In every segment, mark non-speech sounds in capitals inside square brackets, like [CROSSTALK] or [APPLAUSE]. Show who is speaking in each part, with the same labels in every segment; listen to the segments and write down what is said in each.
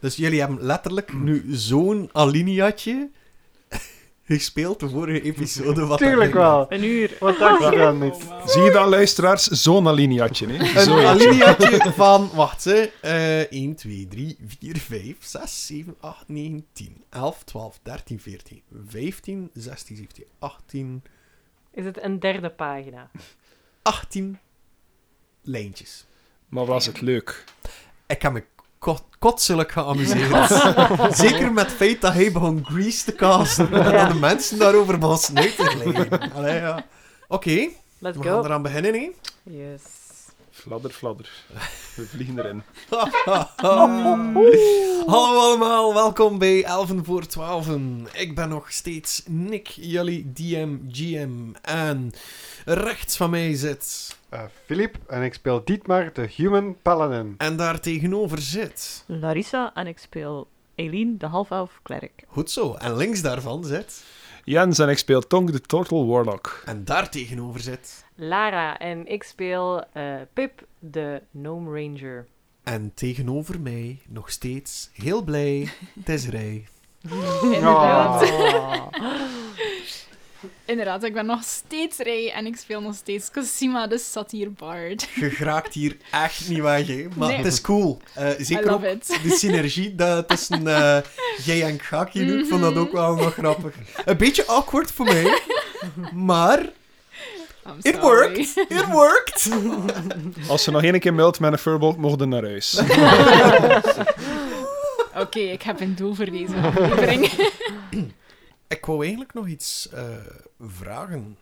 Speaker 1: Dus jullie hebben letterlijk nu zo'n alineaatje [LAUGHS] gespeeld de vorige episode. Wat
Speaker 2: Tuurlijk
Speaker 1: erin
Speaker 2: wel.
Speaker 3: Een uur.
Speaker 2: Wat dacht je Oh, dan niet?
Speaker 4: Zie je dat, luisteraars? Zo'n alineaatje, hè?
Speaker 1: Een
Speaker 4: Zo eentje.
Speaker 1: alineaatje van, wacht hè, eh 1, 2, 3, 4, 5, 6, 7, 8, 9, 10, 11, 12, 13, 14, 15, 16, 17, 18,
Speaker 3: Is het een derde pagina?
Speaker 1: 18 lijntjes.
Speaker 4: Maar was het leuk?
Speaker 1: Ik heb me kot- kotselijk geamuseerd. [LAUGHS] Zeker met het feit dat hij begon Grease te casten en dat de mensen daarover begon snuit te leiden. Allee, ja. Oké,
Speaker 3: Let's
Speaker 1: we
Speaker 3: go.
Speaker 1: gaan eraan beginnen, hè.
Speaker 3: Yes.
Speaker 4: Fladder, fladder. We vliegen erin.
Speaker 1: Hallo allemaal, welkom bij Elven voor 12. Ik ben nog steeds Nick, jullie DM, GM. En rechts van mij zit,
Speaker 2: Eh, Filip, en ik speel Dietmar, de Human Paladin.
Speaker 1: [LAUGHS] en daar tegenover zit.
Speaker 5: Larissa en ik speel Eileen, de half-elf klerk.
Speaker 1: Goed zo, en links daarvan zit.
Speaker 4: Jens en ik speel Tong de Turtle Warlock.
Speaker 1: En daar tegenover zit.
Speaker 3: Lara en ik speel eh, Pip, de Gnome Ranger.
Speaker 1: En tegenover mij, nog steeds, heel blij, Desiree.
Speaker 5: Inderdaad.
Speaker 2: Ah.
Speaker 4: Ah.
Speaker 3: [LAUGHS]
Speaker 6: Inderdaad, ik ben nog steeds Rey en ik speel nog steeds Cosima, de Satyr Bard.
Speaker 1: Je geraakt hier echt niet weg, hè. Maar
Speaker 6: Nee.
Speaker 1: het is cool. Eh,
Speaker 6: I
Speaker 1: zeker ook
Speaker 6: love it.
Speaker 1: de synergie dat tussen eh, jij en Kaki nu, ik vond dat ook wel
Speaker 6: Mhm.
Speaker 1: nog grappig. Een beetje awkward voor mij, maar
Speaker 6: I'm
Speaker 1: it
Speaker 6: sorry.
Speaker 1: worked. It worked.
Speaker 4: Als ze nog één keer mailt met een furball, mochten naar huis.
Speaker 6: Oké, ik heb een doel voor deze aflevering.
Speaker 1: Ik wou eigenlijk nog iets eh, vragen.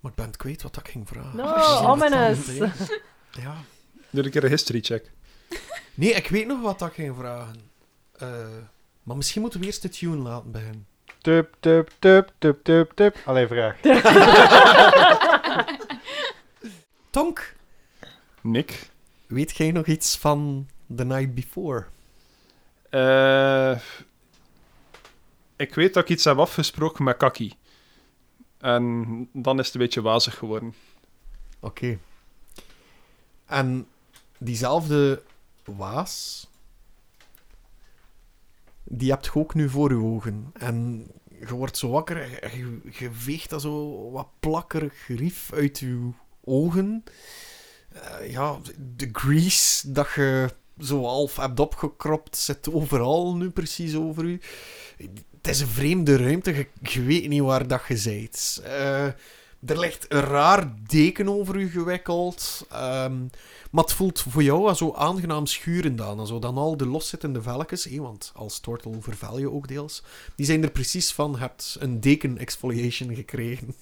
Speaker 1: Maar ik ben het kwijt wat ik ging vragen.
Speaker 3: No,
Speaker 1: Ik zie dat
Speaker 3: ominous.
Speaker 1: dan meteen. Ja.
Speaker 4: Doe een keer een history check.
Speaker 1: Nee, ik weet nog wat ik ging vragen. Eh, maar misschien moeten we eerst de tune laten beginnen.
Speaker 2: Tup, tup, tup, tup, tup, tup. Allee, vraag.
Speaker 1: Tonk,
Speaker 4: Nick?
Speaker 1: weet jij nog iets van The Night Before?
Speaker 4: Eh, ik weet dat ik iets heb afgesproken met Kaki. En dan is het een beetje wazig geworden.
Speaker 1: Oké. En diezelfde waas, die hebt je ook nu voor je ogen. En je wordt zo wakker, en je, je veegt dat zo wat plakkerig gerief uit je ogen. Eh, ja, de grease dat je zo half hebt opgekropt, zit overal nu precies over u. Het is een vreemde ruimte, je, je weet niet waar dat je bent. Eh, er ligt een raar deken over u gewikkeld. ehm, maar het voelt voor jou als zo aangenaam schurend aan. Zo dan al de loszittende velkens, hé, want als tortel vervel je ook deels. Die zijn er precies van, je hebt een deken exfoliation gekregen.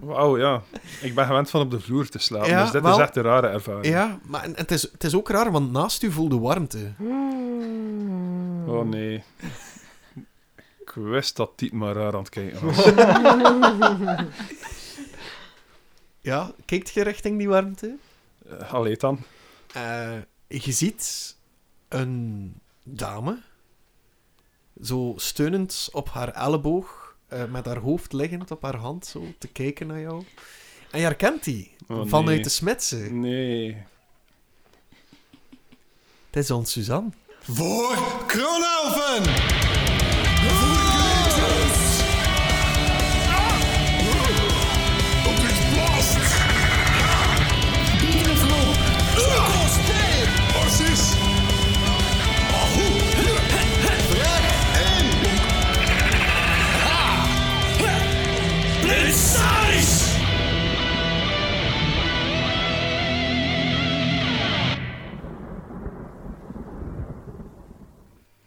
Speaker 4: Wauw, ja. Ik ben gewend van op de vloer te slapen,
Speaker 1: Ja,
Speaker 4: dus dit
Speaker 1: wel-
Speaker 4: is echt een rare ervaring.
Speaker 1: Ja, maar en, en het, is, het is ook raar, want naast u voelde warmte.
Speaker 3: Hmm.
Speaker 4: Oh nee. Ik wist dat Tiet maar raar aan het kijken was.
Speaker 1: Ja, kijkt je richting die warmte?
Speaker 4: Eh, Allee dan.
Speaker 1: Eh, je ziet een dame, zo steunend op haar elleboog, eh, met haar hoofd liggend op haar hand, zo te kijken naar jou. En je herkent die
Speaker 4: Oh,
Speaker 1: vanuit
Speaker 4: nee.
Speaker 1: de smetsen.
Speaker 4: Nee.
Speaker 1: Het is ons Suzanne.
Speaker 7: Voor Kronelven!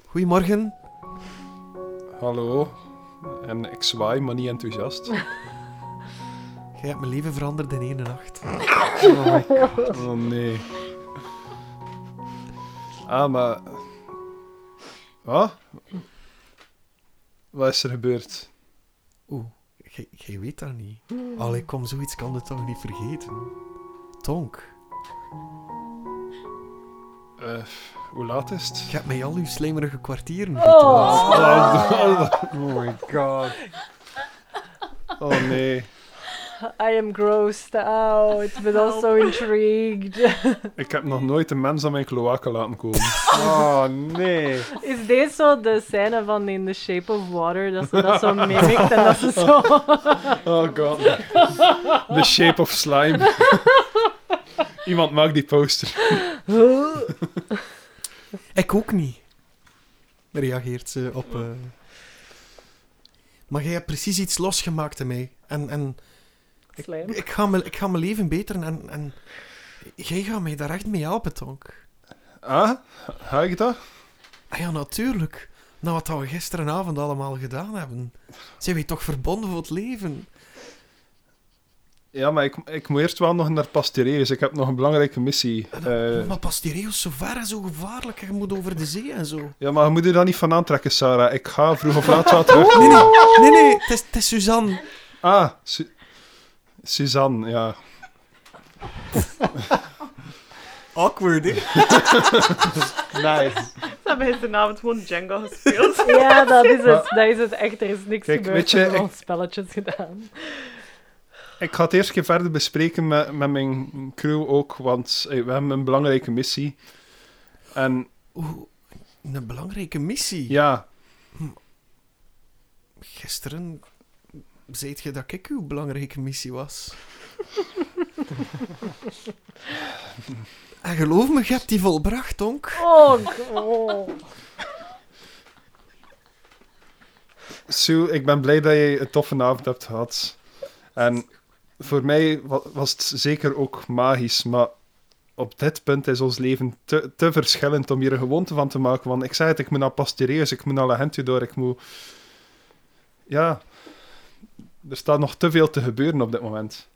Speaker 1: Goedemorgen.
Speaker 4: Hallo. En ik zwaai, maar niet enthousiast.
Speaker 1: Jij hebt mijn leven veranderd in één nacht.
Speaker 4: Oh nee. Ah, maar... Wat? Wat is er gebeurd?
Speaker 1: Oeh, jij- jij weet dat niet. Allee, kom, zoiets kan het toch niet vergeten. Tonk,
Speaker 4: Eh, hoe laat is het?
Speaker 1: je hebt mij al uw slijmerige kwartieren
Speaker 3: Oh.
Speaker 4: Oh,
Speaker 2: Oh my god.
Speaker 4: oh nee.
Speaker 3: I am grossed out, but also intrigued. [LAUGHS]
Speaker 4: Ik heb nog nooit een mens aan mijn kloaken laten komen.
Speaker 2: Oh nee.
Speaker 3: Is deze zo de scène van In the Shape of Water, dat ze dat
Speaker 4: [LAUGHS]
Speaker 3: zo mimikt en dat ze zo...
Speaker 4: Oh god. The shape of slime. Iemand maakt die poster.
Speaker 1: Ik ook niet. Reageert ze op. eh. Maar jij hebt precies iets losgemaakt in mij. En, en ik,
Speaker 3: Slijm.
Speaker 1: ik, ga me, ik ga mijn leven beteren en, en jij gaat mij daar echt mee helpen, Tonk.
Speaker 4: Ah, ga ik dat?
Speaker 1: Ah ja, natuurlijk. Na wat dat we gisterenavond allemaal gedaan hebben, zijn wij toch verbonden voor het leven.
Speaker 4: Ja, maar ik, ik moet eerst wel nog naar Pastereus. Ik heb nog een belangrijke missie. Eh,
Speaker 1: Maar pas die regels zo ver en zo gevaarlijk en je moet over de zee en zo.
Speaker 4: ja, maar je moet er dan niet van aantrekken, Sarah. Ik ga vroeg of laat wel terug.
Speaker 1: Nee, nee, nee, nee, het is, het is Suzanne.
Speaker 4: Ah, Su- Suzanne, ja.
Speaker 1: Awkward, hè?
Speaker 2: Nice.
Speaker 5: Ze hebben gisteravond gewoon Jenga gespeeld.
Speaker 3: Ja, dat is het. Dat is het echt. Er is niks
Speaker 4: Kijk,
Speaker 3: gebeurd.
Speaker 4: weet je,
Speaker 3: we hebben
Speaker 4: ik-
Speaker 3: al spelletjes
Speaker 4: [LAUGHS]
Speaker 3: gedaan.
Speaker 4: Ik ga het eerst keer verder bespreken met, met mijn crew ook, want eh, we hebben een belangrijke missie. En
Speaker 1: Oeh, een belangrijke missie.
Speaker 4: ja,
Speaker 1: Gisteren zei je dat ik uw belangrijke missie was. en geloof me, je hebt die volbracht, Tonk.
Speaker 3: Oh, god.
Speaker 4: Sue, ik ben blij dat je een toffe avond hebt gehad. En voor mij wa- was het zeker ook magisch, maar op dit punt is ons leven te, te verschillend om hier een gewoonte van te maken. Want ik zei het, ik moet naar Pastereus, ik moet naar La Hentu door, ik moet... Ja, er staat nog te veel te gebeuren op dit moment.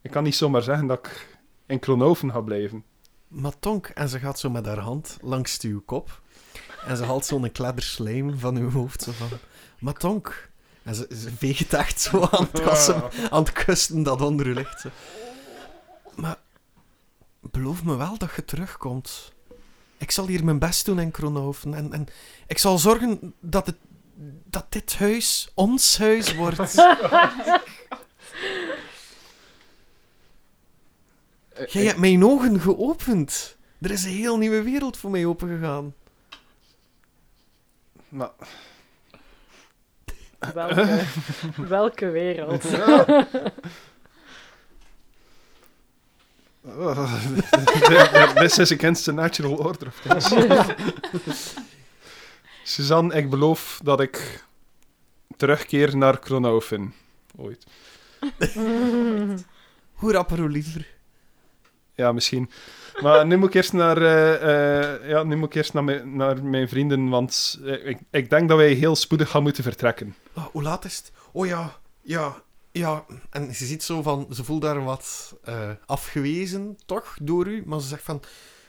Speaker 4: Ik kan niet zomaar zeggen dat ik in Klonoven ga blijven.
Speaker 1: Maar Tonk, en ze gaat zo met haar hand langs uw kop. En ze haalt zo'n kladder slijm van uw hoofd. Zo van, maar Tonk. En ze, ze veegt het echt zo aan het, kassen, aan het kusten dat onder u ligt. zo. Maar beloof me wel dat je terugkomt. Ik zal hier mijn best doen in Kronhoven. En, en ik zal zorgen dat, het, dat dit huis ons huis wordt. Jij hebt mijn ogen geopend. Er is een heel nieuwe wereld voor mij opengegaan.
Speaker 4: Maar
Speaker 3: Welke, welke
Speaker 4: [LAUGHS]
Speaker 3: wereld.
Speaker 4: [LAUGHS] This is against the natural order of things. Suzanne, ik beloof dat ik terugkeer naar Kronoven. Ooit.
Speaker 1: Hoe rapper, hoe liever.
Speaker 4: Ja, misschien. Maar nu moet ik eerst naar, eh, eh, ja, nu moet ik eerst naar, mijn, naar mijn vrienden, want eh, ik, ik denk dat wij heel spoedig gaan moeten vertrekken.
Speaker 1: Ah, hoe laat is het? Oh ja, ja, ja. En ze ziet zo van, ze voelt daar wat eh, afgewezen, toch, door u. Maar ze zegt van,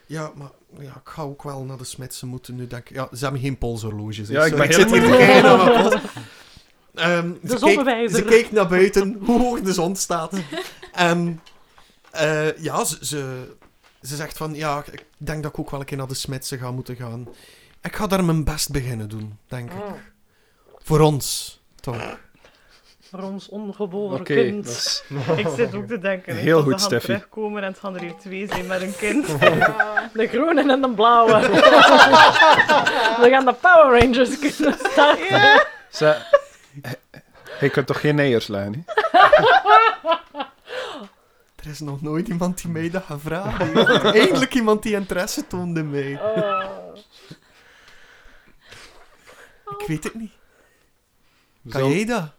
Speaker 1: ja, maar ja, ik ga ook wel naar de smet. Ze moeten nu denken... Ja, ze hebben geen polshorloges. hè.
Speaker 4: Ja, ik
Speaker 1: Zo,
Speaker 4: ben
Speaker 1: zit hier te
Speaker 4: helemaal-
Speaker 1: kijken naar mijn pols. [LAUGHS] Ehm,
Speaker 3: De
Speaker 1: ze, keek,
Speaker 3: zonnewijzer.
Speaker 1: ze keek naar buiten, [LAUGHS] hoe hoog de zon staat. En eh, ja, ze, ze, ze zegt van, ja, ik denk dat ik ook wel een keer naar de smetsen ga moeten gaan. Ik ga daar mijn best beginnen doen, denk ik. Voor ons, toch?
Speaker 5: [LAUGHS] Voor ons ongeboren
Speaker 4: Oké,
Speaker 5: kind.
Speaker 4: dat is-
Speaker 5: Ik zit ook te denken. hè,
Speaker 4: Heel
Speaker 5: dat
Speaker 4: goed,
Speaker 5: we gaan
Speaker 4: Steffi.
Speaker 5: terugkomen en het gaan er hier twee zijn met een [LAUGHS] kind.
Speaker 3: De groene en de blauwe. [LAUGHS] We gaan de Power Rangers kunnen starten.
Speaker 4: Ze- [LAUGHS] Je kunt toch geen neiers leggen, hè?
Speaker 1: Er is nog nooit iemand die mij dat gaat vragen. [LAUGHS] joh. Eindelijk iemand die interesse toonde in mij. Ik weet het niet.
Speaker 4: We
Speaker 1: Kan
Speaker 4: zullen-
Speaker 1: jij dat?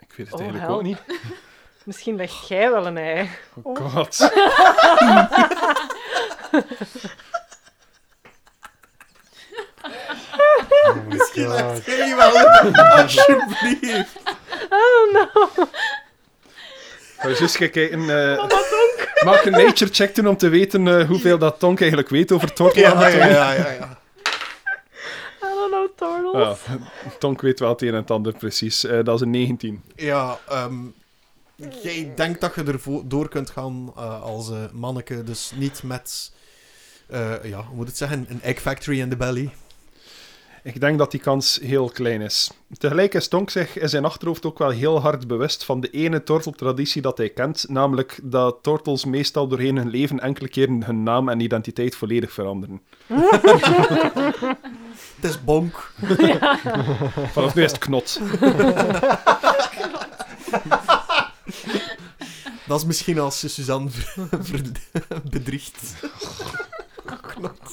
Speaker 4: Ik weet het
Speaker 3: Oh,
Speaker 4: eigenlijk
Speaker 3: help.
Speaker 4: ook niet.
Speaker 3: Misschien leg jij wel een ei.
Speaker 4: Oh god.
Speaker 2: Oh my god.
Speaker 1: Jij wel, [LAUGHS] alsjeblieft.
Speaker 4: Ga je eens kijken. eh, maak een nature check doen om te weten eh, hoeveel dat Tonk eigenlijk weet over tortilla.
Speaker 1: Ja, ja, ja, ja. ja.
Speaker 3: I don't know, turtles.
Speaker 4: Ja, Tonk Ah, weet wel het een en het ander precies. Eh, dat is een 19.
Speaker 1: ja ehm, jij denkt dat je ervoor door kunt gaan eh, als eh manneke, dus niet met... eh, ja, hoe moet ik het zeggen? Een egg factory in the belly.
Speaker 4: Ik denk dat die kans heel klein is. Tegelijk is Tonk zich in zijn achterhoofd ook wel heel hard bewust van de ene torteltraditie dat hij kent, namelijk dat tortels meestal doorheen hun leven enkele keren hun naam en identiteit volledig veranderen.
Speaker 1: Het is bonk.
Speaker 4: Vanaf nu is het knot.
Speaker 1: Dat is misschien als je Suzanne [LAUGHS] ver- ver-
Speaker 3: [LAUGHS]
Speaker 1: bedriegt. Knot.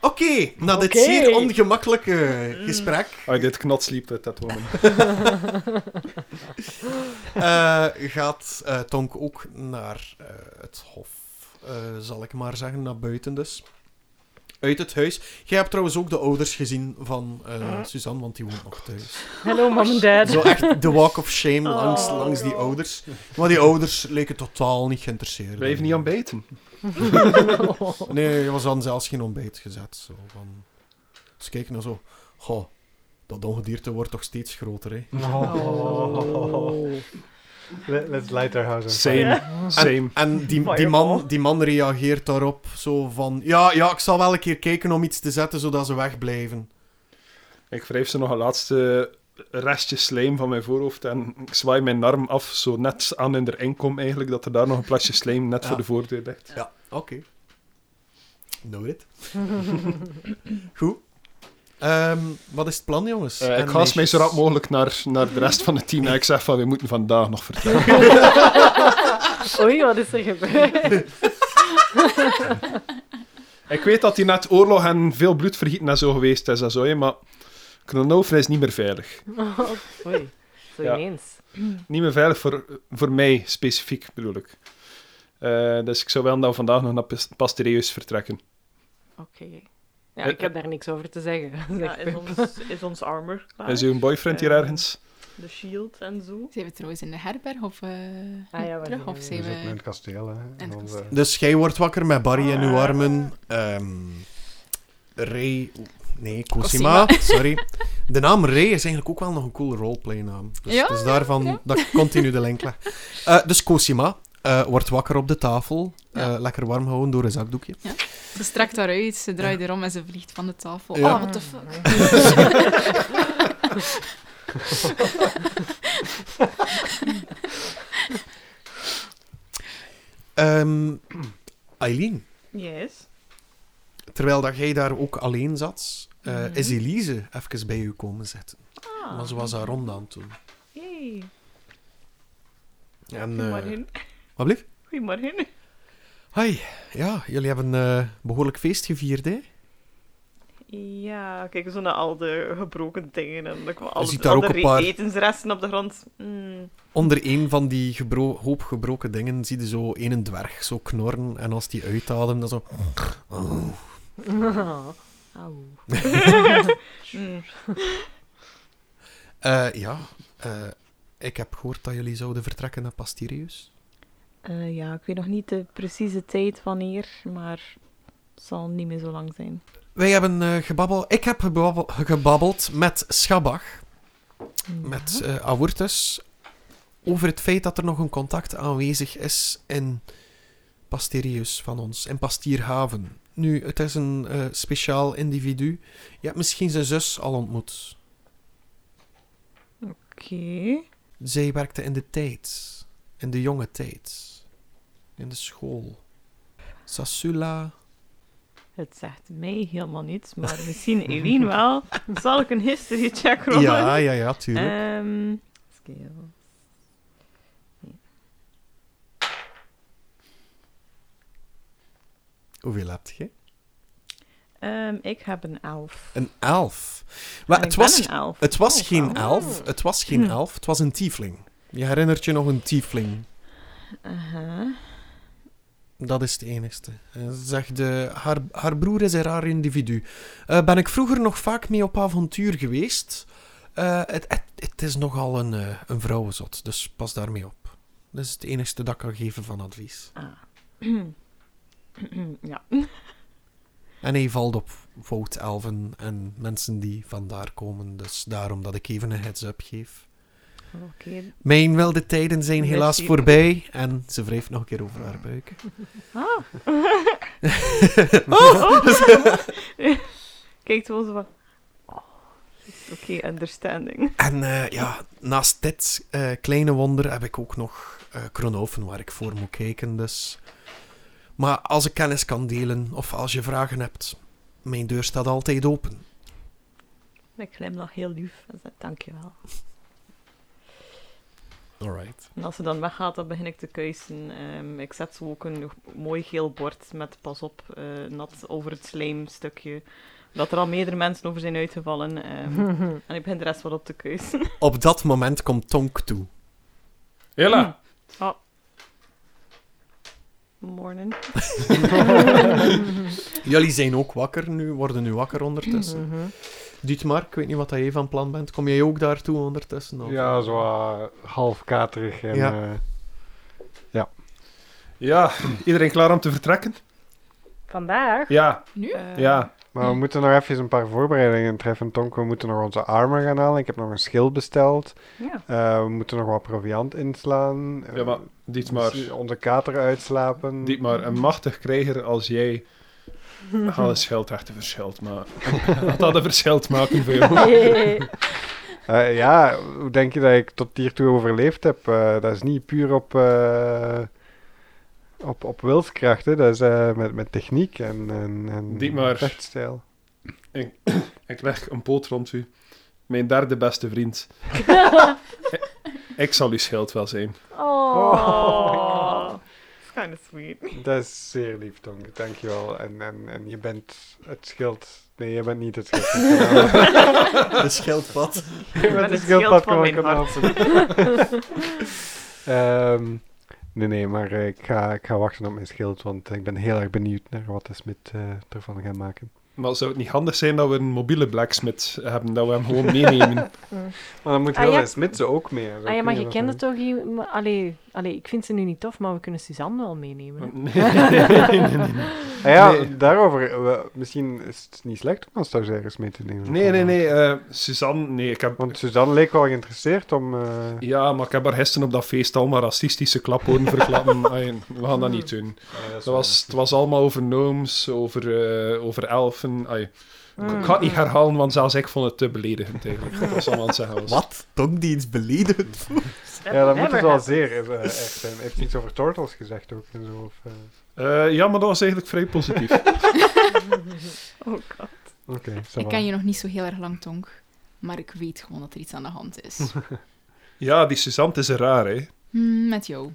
Speaker 1: Oké, na dit
Speaker 3: Oké. Mm.
Speaker 1: zeer ongemakkelijke gesprek
Speaker 4: I did knot sleep with that woman.
Speaker 1: eh, gaat eh, Tonk ook naar eh, het hof, eh, zal ik maar zeggen, naar buiten dus. Uit het huis. Jij hebt trouwens ook de ouders gezien van eh,
Speaker 3: Mhm.
Speaker 1: Suzanne, want die woont nog
Speaker 3: [LAUGHS]
Speaker 1: thuis.
Speaker 3: Hello, mom and dad.
Speaker 1: Zo echt de walk of shame langs,
Speaker 3: Oh,
Speaker 1: langs die
Speaker 3: God.
Speaker 1: ouders. Maar die ouders leken totaal niet geïnteresseerd.
Speaker 4: Blijf niet aan bijten.
Speaker 1: Nee, er was dan zelfs geen ontbijt gezet. Zo, van... Dus kijk nou zo. Goh, dat ongedierte wordt toch steeds groter, hè?
Speaker 3: Oh.
Speaker 2: Let- Let's light our house on fire.
Speaker 4: Same. Same.
Speaker 1: En die, die, man, die man reageert daarop zo van... Ja, ja, ik zal wel een keer kijken om iets te zetten, zodat ze wegblijven.
Speaker 4: Ik wrijf ze nog een laatste restje slijm van mijn voorhoofd en ik zwaai mijn arm af, zo net aan in de inkom eigenlijk, dat er daar nog een plasje slijm net
Speaker 1: Ja.
Speaker 4: voor de voordeur ligt.
Speaker 1: Ja, oké. Nou dit. [LAUGHS] Goed. Ehm, wat is het plan, jongens?
Speaker 4: Eh,
Speaker 1: En
Speaker 4: ik haast mij zo rap
Speaker 1: meisjes?
Speaker 4: mogelijk naar, naar de rest van het team en ik zeg van, we moeten vandaag nog vertrekken.
Speaker 3: Oei, wat is er
Speaker 2: [LAUGHS]
Speaker 3: gebeurd?
Speaker 4: [LAUGHS] ik weet dat die net oorlog en veel bloedvergieten en zo geweest is en zo, hè, maar Kronover is niet meer veilig.
Speaker 3: Oei, zo
Speaker 4: Ja.
Speaker 3: ineens.
Speaker 4: Niet meer veilig voor, voor mij specifiek, bedoel ik. Eh, dus ik zou wel dan vandaag nog naar Pas- Pastereus vertrekken.
Speaker 5: Oké.
Speaker 3: Ja, ik heb daar niks over te zeggen. [LAUGHS]
Speaker 5: Ja,
Speaker 3: zegt
Speaker 5: is,
Speaker 3: Pip.
Speaker 5: ons, is ons armor klaar?
Speaker 1: Ah.
Speaker 4: Is uw boyfriend hier
Speaker 5: Eh,
Speaker 4: ergens?
Speaker 5: De shield en zo?
Speaker 6: Zijn we trouwens in de herberg of eh,
Speaker 3: Ah ja, we
Speaker 6: terug?
Speaker 3: zijn
Speaker 6: Of
Speaker 3: in-
Speaker 6: zijn
Speaker 2: Dat is ook
Speaker 6: we...
Speaker 2: mijn kasteel, hè.
Speaker 6: En het
Speaker 2: Onze-
Speaker 6: kasteel.
Speaker 1: Dus jij wordt wakker met Barry in uw armen. Ehm Ray... Nee, Cosima. Sorry. De naam Ray is eigenlijk ook wel nog een cool roleplay-naam. Dus,
Speaker 6: Ja,
Speaker 1: dus daarvan
Speaker 6: ja.
Speaker 1: dat ik continu de link leg. Eh, dus Cosima eh, wordt wakker op de tafel. eh, lekker warm houden door een zakdoekje.
Speaker 6: Ze strakt daaruit, ze draait erom en ze vliegt van de tafel.
Speaker 1: Ja.
Speaker 6: Oh, what the
Speaker 3: [LAUGHS]
Speaker 6: fuck.
Speaker 1: Ehm, Eileen,
Speaker 5: Yes.
Speaker 1: terwijl dat jij daar ook alleen zat, eh,
Speaker 5: Mhm.
Speaker 1: is Elise even bij u komen zitten.
Speaker 5: Ah,
Speaker 1: Want ze was haar ronde aan het doen.
Speaker 5: Yay.
Speaker 1: En, eh
Speaker 5: Goedemorgen.
Speaker 1: wat blieft?
Speaker 5: Goedemorgen.
Speaker 1: Hoi, ja, jullie hebben eh, behoorlijk feest gevierd, hè?
Speaker 5: Ja, kijk zo naar al de gebroken dingen en dan kwam al
Speaker 1: ziet
Speaker 5: de,
Speaker 1: daar
Speaker 5: al
Speaker 1: ook
Speaker 5: de
Speaker 1: een
Speaker 5: re-
Speaker 1: paar-
Speaker 5: etensresten op de grond. Mm.
Speaker 1: Onder een van die gebro- hoop gebroken dingen zie je zo een dwerg zo knorren. En als die uitademt, dan zo... Oh.
Speaker 3: Auw.
Speaker 5: Mm.
Speaker 1: Eh, ja, eh, ik heb gehoord dat jullie zouden vertrekken naar Pastirius.
Speaker 5: Eh, ja, ik weet nog niet de precieze tijd wanneer, maar het zal niet meer zo lang zijn.
Speaker 1: Wij hebben eh gebabbeld... Ik heb gebabbel- gebabbeld met Schabach,
Speaker 5: Hmm.
Speaker 1: met eh Aortus, over het feit dat er nog een contact aanwezig is in Pastirius van ons, in Pastierhaven. Nu, het is een eh, speciaal individu. Je hebt misschien zijn zus al ontmoet.
Speaker 5: Oké.
Speaker 1: Zij werkte in de tijd. In de jonge tijd. In de school. Sasula.
Speaker 5: Het zegt mij helemaal niets, maar
Speaker 1: [LAUGHS]
Speaker 5: misschien Eline wel. Zal ik een history check rollen?
Speaker 1: Ja, ja, ja, tuurlijk.
Speaker 5: Ehm,
Speaker 3: Scale.
Speaker 1: Hoeveel heb je?
Speaker 5: ehm, ik heb een elf.
Speaker 1: Een elf. Maar
Speaker 5: En
Speaker 1: het
Speaker 5: ik ben
Speaker 1: was,
Speaker 5: een elf.
Speaker 1: het was
Speaker 5: Oh,
Speaker 1: geen
Speaker 5: wow.
Speaker 1: elf. Het was geen elf. Het was een tiefling. Je herinnert je nog een tiefling.
Speaker 5: Aha.
Speaker 1: Dat is het enigste. Eh, Ze zegt, eh, haar, haar broer is een raar individu. Eh, ben ik vroeger nog vaak mee op avontuur geweest? Eh, het, het, het is nogal een, eh, een vrouwenzot, dus pas daarmee op. Dat is het enigste dat ik kan geven van advies.
Speaker 5: Ah. ja.
Speaker 1: En hij valt op fout elven en mensen die vandaar komen, dus daarom dat ik even een heads-up geef.
Speaker 5: Oké.
Speaker 1: Mijn wilde tijden zijn helaas
Speaker 5: Merci.
Speaker 1: voorbij. En ze wrijft nog een keer over haar buik.
Speaker 5: Oh, oh. Kijk, kijkt wel zo van... Oh, oké, understanding.
Speaker 1: En eh, ja, naast dit eh, kleine wonder heb ik ook nog eh Kronoven waar ik voor moet kijken. Dus. Maar als ik kennis kan delen of als je vragen hebt, mijn deur staat altijd open.
Speaker 5: Ik glimlach heel lief en zeg dankjewel.
Speaker 1: Alright.
Speaker 5: En als ze dan weggaat, dan begin ik te kuisen. Ehm, ik zet zo ook een mooi geel bord met pas op, eh, nat over het slijmstukje. Dat er al meerdere mensen over zijn uitgevallen. ehm, [LAUGHS] en ik begin de rest wat op te kuisen.
Speaker 1: Op dat moment komt Tonk toe.
Speaker 8: Hela!
Speaker 5: Morning.
Speaker 1: Jullie zijn ook wakker nu, worden nu wakker ondertussen. Dietmar, ik weet niet wat jij van plan bent. Kom jij ook daartoe ondertussen? of-
Speaker 2: Ja, zo eh, half katerig. En,
Speaker 1: Ja.
Speaker 2: eh,
Speaker 4: Ja, iedereen klaar om te vertrekken?
Speaker 3: Vandaag?
Speaker 4: Ja,
Speaker 6: Nu?
Speaker 5: Eh,
Speaker 4: ja.
Speaker 2: maar we moeten nog even een paar voorbereidingen treffen, Tonk. We moeten nog onze armor gaan halen. Ik heb nog een schild besteld.
Speaker 5: Ja.
Speaker 2: Eh, we moeten nog wat proviant inslaan. Eh,
Speaker 4: Ja, maar Dietmar,
Speaker 2: misschien Onze kater uitslapen.
Speaker 4: Dietmar, een machtig krijger als [LAUGHS] jij... Haal een schild echt een verschil, maar... [LAUGHS] Dat een verschil maken voor jou.
Speaker 3: Hey.
Speaker 2: Eh, ja, hoe denk je dat ik tot hiertoe overleefd heb? Eh, dat is niet puur op, eh, op, op wilskracht, hè. dat is eh, met, met techniek en, en, en
Speaker 4: Dietmar.
Speaker 2: vechtstijl.
Speaker 4: [LAUGHS] Ik leg een poot rond u. Mijn derde beste vriend. [LAUGHS] ik zal uw schild wel zijn.
Speaker 5: Oh. It's kind of sweet.
Speaker 2: Dat is zeer lief, Tonk. Dankjewel. En, en, en je bent het schild. Nee, je bent niet het
Speaker 5: [LAUGHS]
Speaker 2: schild. van Kanaal.
Speaker 1: De schildpad.
Speaker 2: je
Speaker 5: ben
Speaker 2: bent
Speaker 5: het
Speaker 2: het
Speaker 5: schild
Speaker 2: schildpad
Speaker 5: van
Speaker 2: van
Speaker 5: mijn
Speaker 2: Kanaal. Ehm, nee, nee, maar eh, ik ga, ik ga wachten op mijn schild, want ik ben heel erg benieuwd naar wat de smid eh, ervan gaat maken.
Speaker 4: Maar zou het niet handig zijn dat we een mobiele blacksmith hebben, dat we hem gewoon [LAUGHS] meenemen?
Speaker 2: Maar dan moet
Speaker 3: Ah,
Speaker 2: heel
Speaker 3: ja.
Speaker 2: de smid ze ook mee.
Speaker 3: Ah ja, maar je kent het toch? hier- maar- Allee, allee, ik vind ze nu niet tof, maar we kunnen Suzanne wel meenemen. hè.
Speaker 2: Ah ja,
Speaker 4: Nee.
Speaker 2: daarover. eh, misschien is het niet slecht om een stagiaires mee te nemen.
Speaker 4: Nee, nee, nee. eh, Suzanne, nee, ik heb...
Speaker 2: Want Suzanne leek wel geïnteresseerd om... eh,
Speaker 4: Ja, maar ik heb haar gisteren op dat feest allemaal racistische klapwoorden verklappen. Ai, we gaan dat niet doen. Dat was, het was allemaal over gnomes, over, eh, over elfen. Ai,
Speaker 3: Hmm.
Speaker 2: Mm.
Speaker 4: Ik ga het niet herhalen, want zelfs ik vond het te beledigend eigenlijk. Dat was allemaal aan het zeggen was.
Speaker 1: Wat? Tonk die iets beledigend voelt?
Speaker 2: ja, dat moet
Speaker 3: Never
Speaker 2: het wel
Speaker 3: happen.
Speaker 2: zeer eh, echt zijn. Heeft iets over turtles gezegd ook en zo. Of, eh,
Speaker 4: Eh, ja, maar dat was eigenlijk vrij positief.
Speaker 5: Oh god.
Speaker 2: Oké, ça
Speaker 6: Ik
Speaker 2: va.
Speaker 6: ken je nog niet zo heel erg lang, Tonk. Maar ik weet gewoon dat er iets aan de hand is.
Speaker 4: Ja, die Suzanne het is raar, hè?
Speaker 6: Hmm, met jou.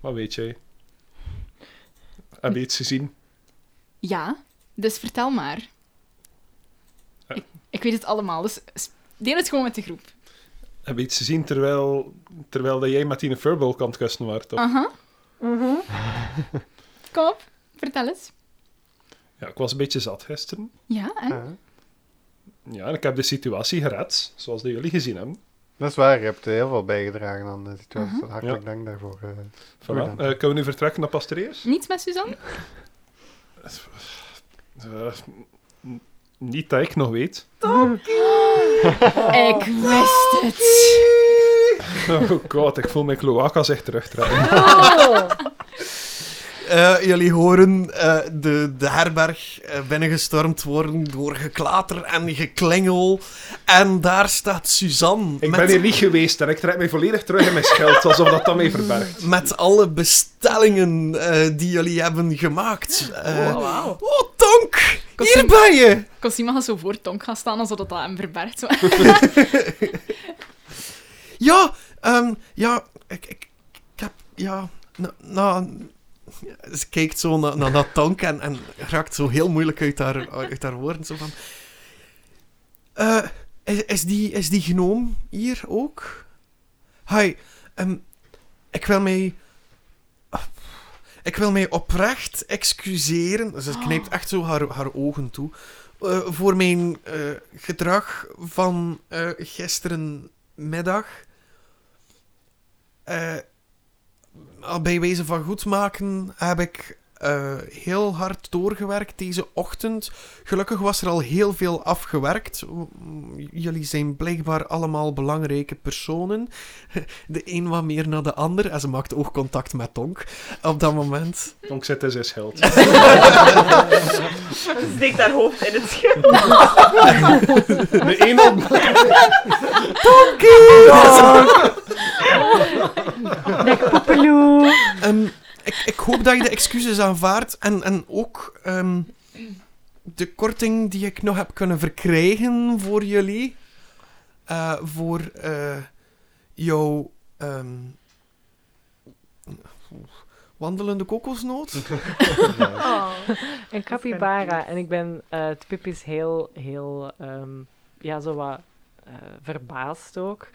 Speaker 4: Wat weet jij? Heb je iets gezien?
Speaker 6: Ja, dus vertel maar.
Speaker 4: Eh.
Speaker 6: Ik, ik weet het allemaal, dus s- deel het gewoon met de groep.
Speaker 4: Heb je iets gezien terwijl, terwijl dat jij met die furball kan kussen was? toch?
Speaker 6: Aha.
Speaker 3: Mhm.
Speaker 6: [LAUGHS] Kom op, vertel het.
Speaker 4: Ja, ik was een beetje zat gisteren.
Speaker 6: Ja, en?
Speaker 2: Ah, Ja.
Speaker 4: Ja, en ik heb de situatie gered, zoals dat jullie gezien hebben.
Speaker 2: Dat is waar, je hebt eh, heel veel bijgedragen aan de
Speaker 3: Mhm.
Speaker 2: situatie. Hartelijk
Speaker 4: Ja.
Speaker 2: dank daarvoor. eh.
Speaker 4: Voilà.
Speaker 2: Goed dan.
Speaker 4: Eh, kunnen we nu vertrekken naar Pastereus?
Speaker 6: Niets met Suzanne?
Speaker 4: Eh, n- niet dat ik nog weet. [LAUGHS]
Speaker 3: Oh.
Speaker 6: Ik wist het.
Speaker 4: Oh god, ik voel mijn cloacas echt terugtrekken.
Speaker 3: Oh!
Speaker 1: Eh, jullie horen eh, de, de herberg eh, binnengestormd worden door geklater en geklengel. En daar staat Suzanne
Speaker 4: [LAUGHS] Ik ben
Speaker 1: met,
Speaker 4: hier niet geweest en ik trek mij volledig terug in mijn schild, alsof dat dan mij verbergt.
Speaker 1: met alle bestellingen eh, die jullie hebben gemaakt. Eh,
Speaker 6: Oh,
Speaker 5: [LAUGHS]
Speaker 6: wauw.
Speaker 1: Oh, Tonk!
Speaker 6: Kost-
Speaker 1: Hier ben je!
Speaker 6: Cosima gaat zo voor Tonk gaan staan, alsof dat dat hem verbergt. zo.
Speaker 1: Ja, ehm, ja, ik, ik, ik heb, ja, nou... ze kijkt zo naar, naar dat tonk en, en raakt zo heel moeilijk uit haar, uit haar woorden. Zo van... Eh, is, is die, is die gnoom hier ook? Hi, ehm, ik wil mij... Ik wil mij oprecht excuseren. Ze knijpt echt zo haar, haar ogen toe. eh, voor mijn eh, gedrag van eh, gisterenmiddag. Eh, al bij wijze van goedmaken heb ik eh, heel hard doorgewerkt deze ochtend. Gelukkig was er al heel veel afgewerkt. Mm, Jullie zijn blijkbaar allemaal belangrijke personen. [LAUGHS] De een wat meer naar de ander. En ze maakt oogcontact met Tonk op dat moment.
Speaker 4: Tonk zit in zijn schild. [LAUGHS]
Speaker 5: Ze steekt haar hoofd in het scherm.
Speaker 4: De ene op- [LAUGHS]
Speaker 3: Lekker poepeloe.
Speaker 1: Ehm, ik, ik hoop dat je de excuses aanvaardt. En, en ook ehm, de korting die ik nog heb kunnen verkrijgen voor jullie. eh, voor eh, jouw ehm, wandelende kokosnoot.
Speaker 5: Oh.
Speaker 3: Een capybara. En ik ben, eh het Pip is heel, heel, ehm, ja, zo wat eh, verbaasd ook.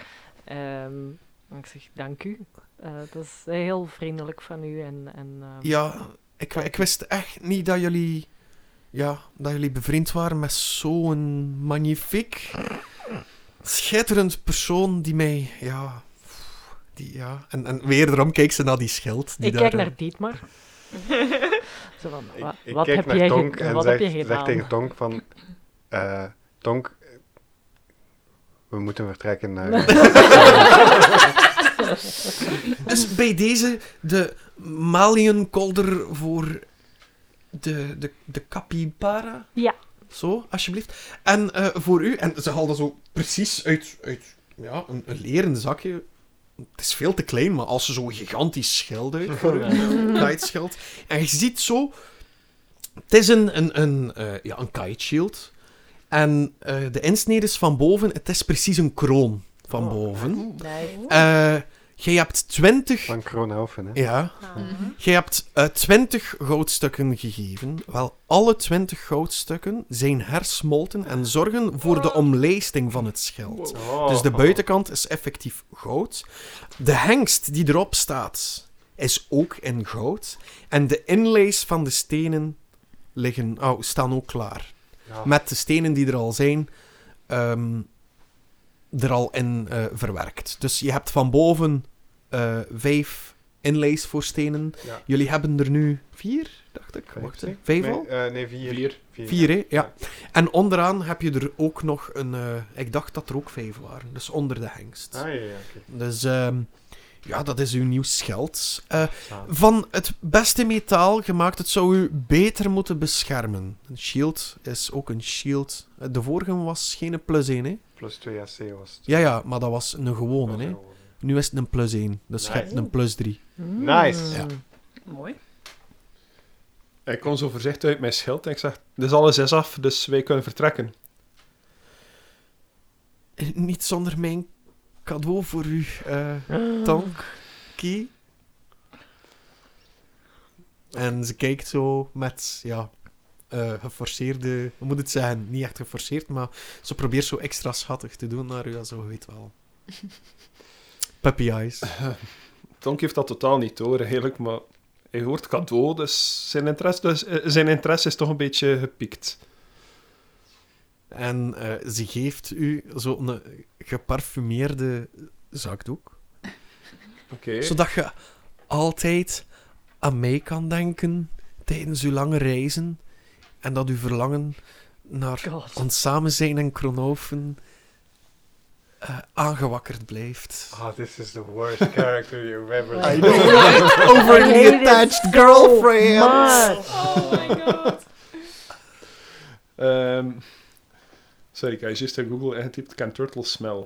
Speaker 3: Ehm, ik zeg dank u. Eh, dat is heel vriendelijk van u. En, en, ehm,
Speaker 1: Ja, ik, ik wist echt niet dat jullie, ja, dat jullie bevriend waren met zo'n magnifiek, schitterend persoon die mij, ja, die, ja. En, en weer erom keek ze naar die schild. Die
Speaker 3: ik
Speaker 1: daar, eh,
Speaker 3: kijk naar [LAUGHS] Dietmar. Zo van,
Speaker 2: Ik,
Speaker 3: wa-
Speaker 2: ik
Speaker 3: wat,
Speaker 2: kijk
Speaker 3: heb,
Speaker 2: naar
Speaker 3: jij
Speaker 2: Tonk
Speaker 3: ge-
Speaker 2: en
Speaker 3: wat
Speaker 2: zeg,
Speaker 3: heb je
Speaker 2: zeg
Speaker 3: gedaan?
Speaker 2: tegen Tonk van... eh, Tonk, we moeten vertrekken. eh.
Speaker 1: eh, Dus bij deze de maliënkolder voor de, de, de capybara.
Speaker 3: Ja.
Speaker 1: Zo, alsjeblieft. En eh, voor u, en ze haalde zo precies uit, uit ja, een, een leren zakje. Het is veel te klein, maar als ze zo'n gigantisch schild uit voor
Speaker 3: [LAUGHS]
Speaker 1: u, een kiteschild. En je ziet zo, het is een, een, een, eh, ja, een kite shield. En eh, de insnede is van boven, het is precies een kroon van
Speaker 3: Oh.
Speaker 1: boven.
Speaker 3: Nice.
Speaker 1: Eh jij hebt 20
Speaker 2: van Kroonhoven, hè?
Speaker 1: ja.
Speaker 3: Mhm.
Speaker 1: Je hebt eh 20 goudstukken gegeven. Wel, alle 20 goudstukken zijn hersmolten en zorgen voor de omlijsting van het schild. [LAUGHS] Dus
Speaker 2: Oh.
Speaker 1: de buitenkant is effectief goud. De hengst die erop staat is ook in goud. En de inlays van de stenen liggen, oh, staan ook klaar.
Speaker 2: Ja.
Speaker 1: Met de stenen die er al zijn, ehm, er al in eh, verwerkt. Dus je hebt van boven eh, vijf inlays voor stenen.
Speaker 2: Ja.
Speaker 1: Jullie hebben er nu vier, dacht ik.
Speaker 2: Vijf,
Speaker 1: Wacht, hè.
Speaker 2: zeg.
Speaker 1: vijf
Speaker 2: Nee,
Speaker 1: al?
Speaker 2: eh, nee, vier.
Speaker 4: Vier.
Speaker 1: Vier, hè? Ja. En onderaan heb je er ook nog een... eh, ik dacht dat er ook vijf waren. Dus onder de hengst.
Speaker 2: Ah, ja, ja, oké.
Speaker 1: Dus ehm, ja, dat is uw nieuw scheld. Eh,
Speaker 2: Samen.
Speaker 1: van het beste metaal gemaakt, het zou u beter moeten beschermen. Een shield is ook een shield. Eh, De vorige was geen plus 1, hè?
Speaker 2: Plus 2 AC was het.
Speaker 1: Ja, ja, maar dat was een gewone, hè? Nu is het een plus 1, dus je
Speaker 2: Nice.
Speaker 1: hebt een plus 3.
Speaker 2: Nice.
Speaker 1: Ja.
Speaker 5: Mooi.
Speaker 4: Ik kon zo voorzichtig uit mijn schild en ik zeg, dus alles is af, dus wij kunnen vertrekken.
Speaker 1: Niet zonder mijn cadeau voor u, eh Tonk, Ki. En ze kijkt zo met, ja, eh, geforceerde... Hoe moet het zeggen? Niet echt geforceerd, maar ze probeert zo extra schattig te doen naar u, ja, zo je weet wel. Puppy eyes.
Speaker 4: Tonk heeft dat totaal niet door, eigenlijk, maar hij hoort cadeau, dus zijn interesse, dus, eh, zijn interesse is toch een beetje gepiekt.
Speaker 1: En eh, ze geeft u zo'n geparfumeerde zakdoek.
Speaker 4: Oké.
Speaker 1: Zodat je altijd aan mee kan denken tijdens uw lange reizen. En dat uw verlangen naar
Speaker 3: God.
Speaker 1: ons samen zijn en Kronoven eh, aangewakkerd blijft.
Speaker 2: Ah, this is the
Speaker 1: [LAUGHS]
Speaker 2: worst character you've ever
Speaker 3: I
Speaker 2: seen.
Speaker 3: know.
Speaker 1: Overly
Speaker 3: I hate it
Speaker 1: attached
Speaker 3: so
Speaker 1: girlfriend.
Speaker 3: much.
Speaker 6: Oh my god.
Speaker 4: Ehm, sorry, ik had juist in Google ingetypt, can turtles smell?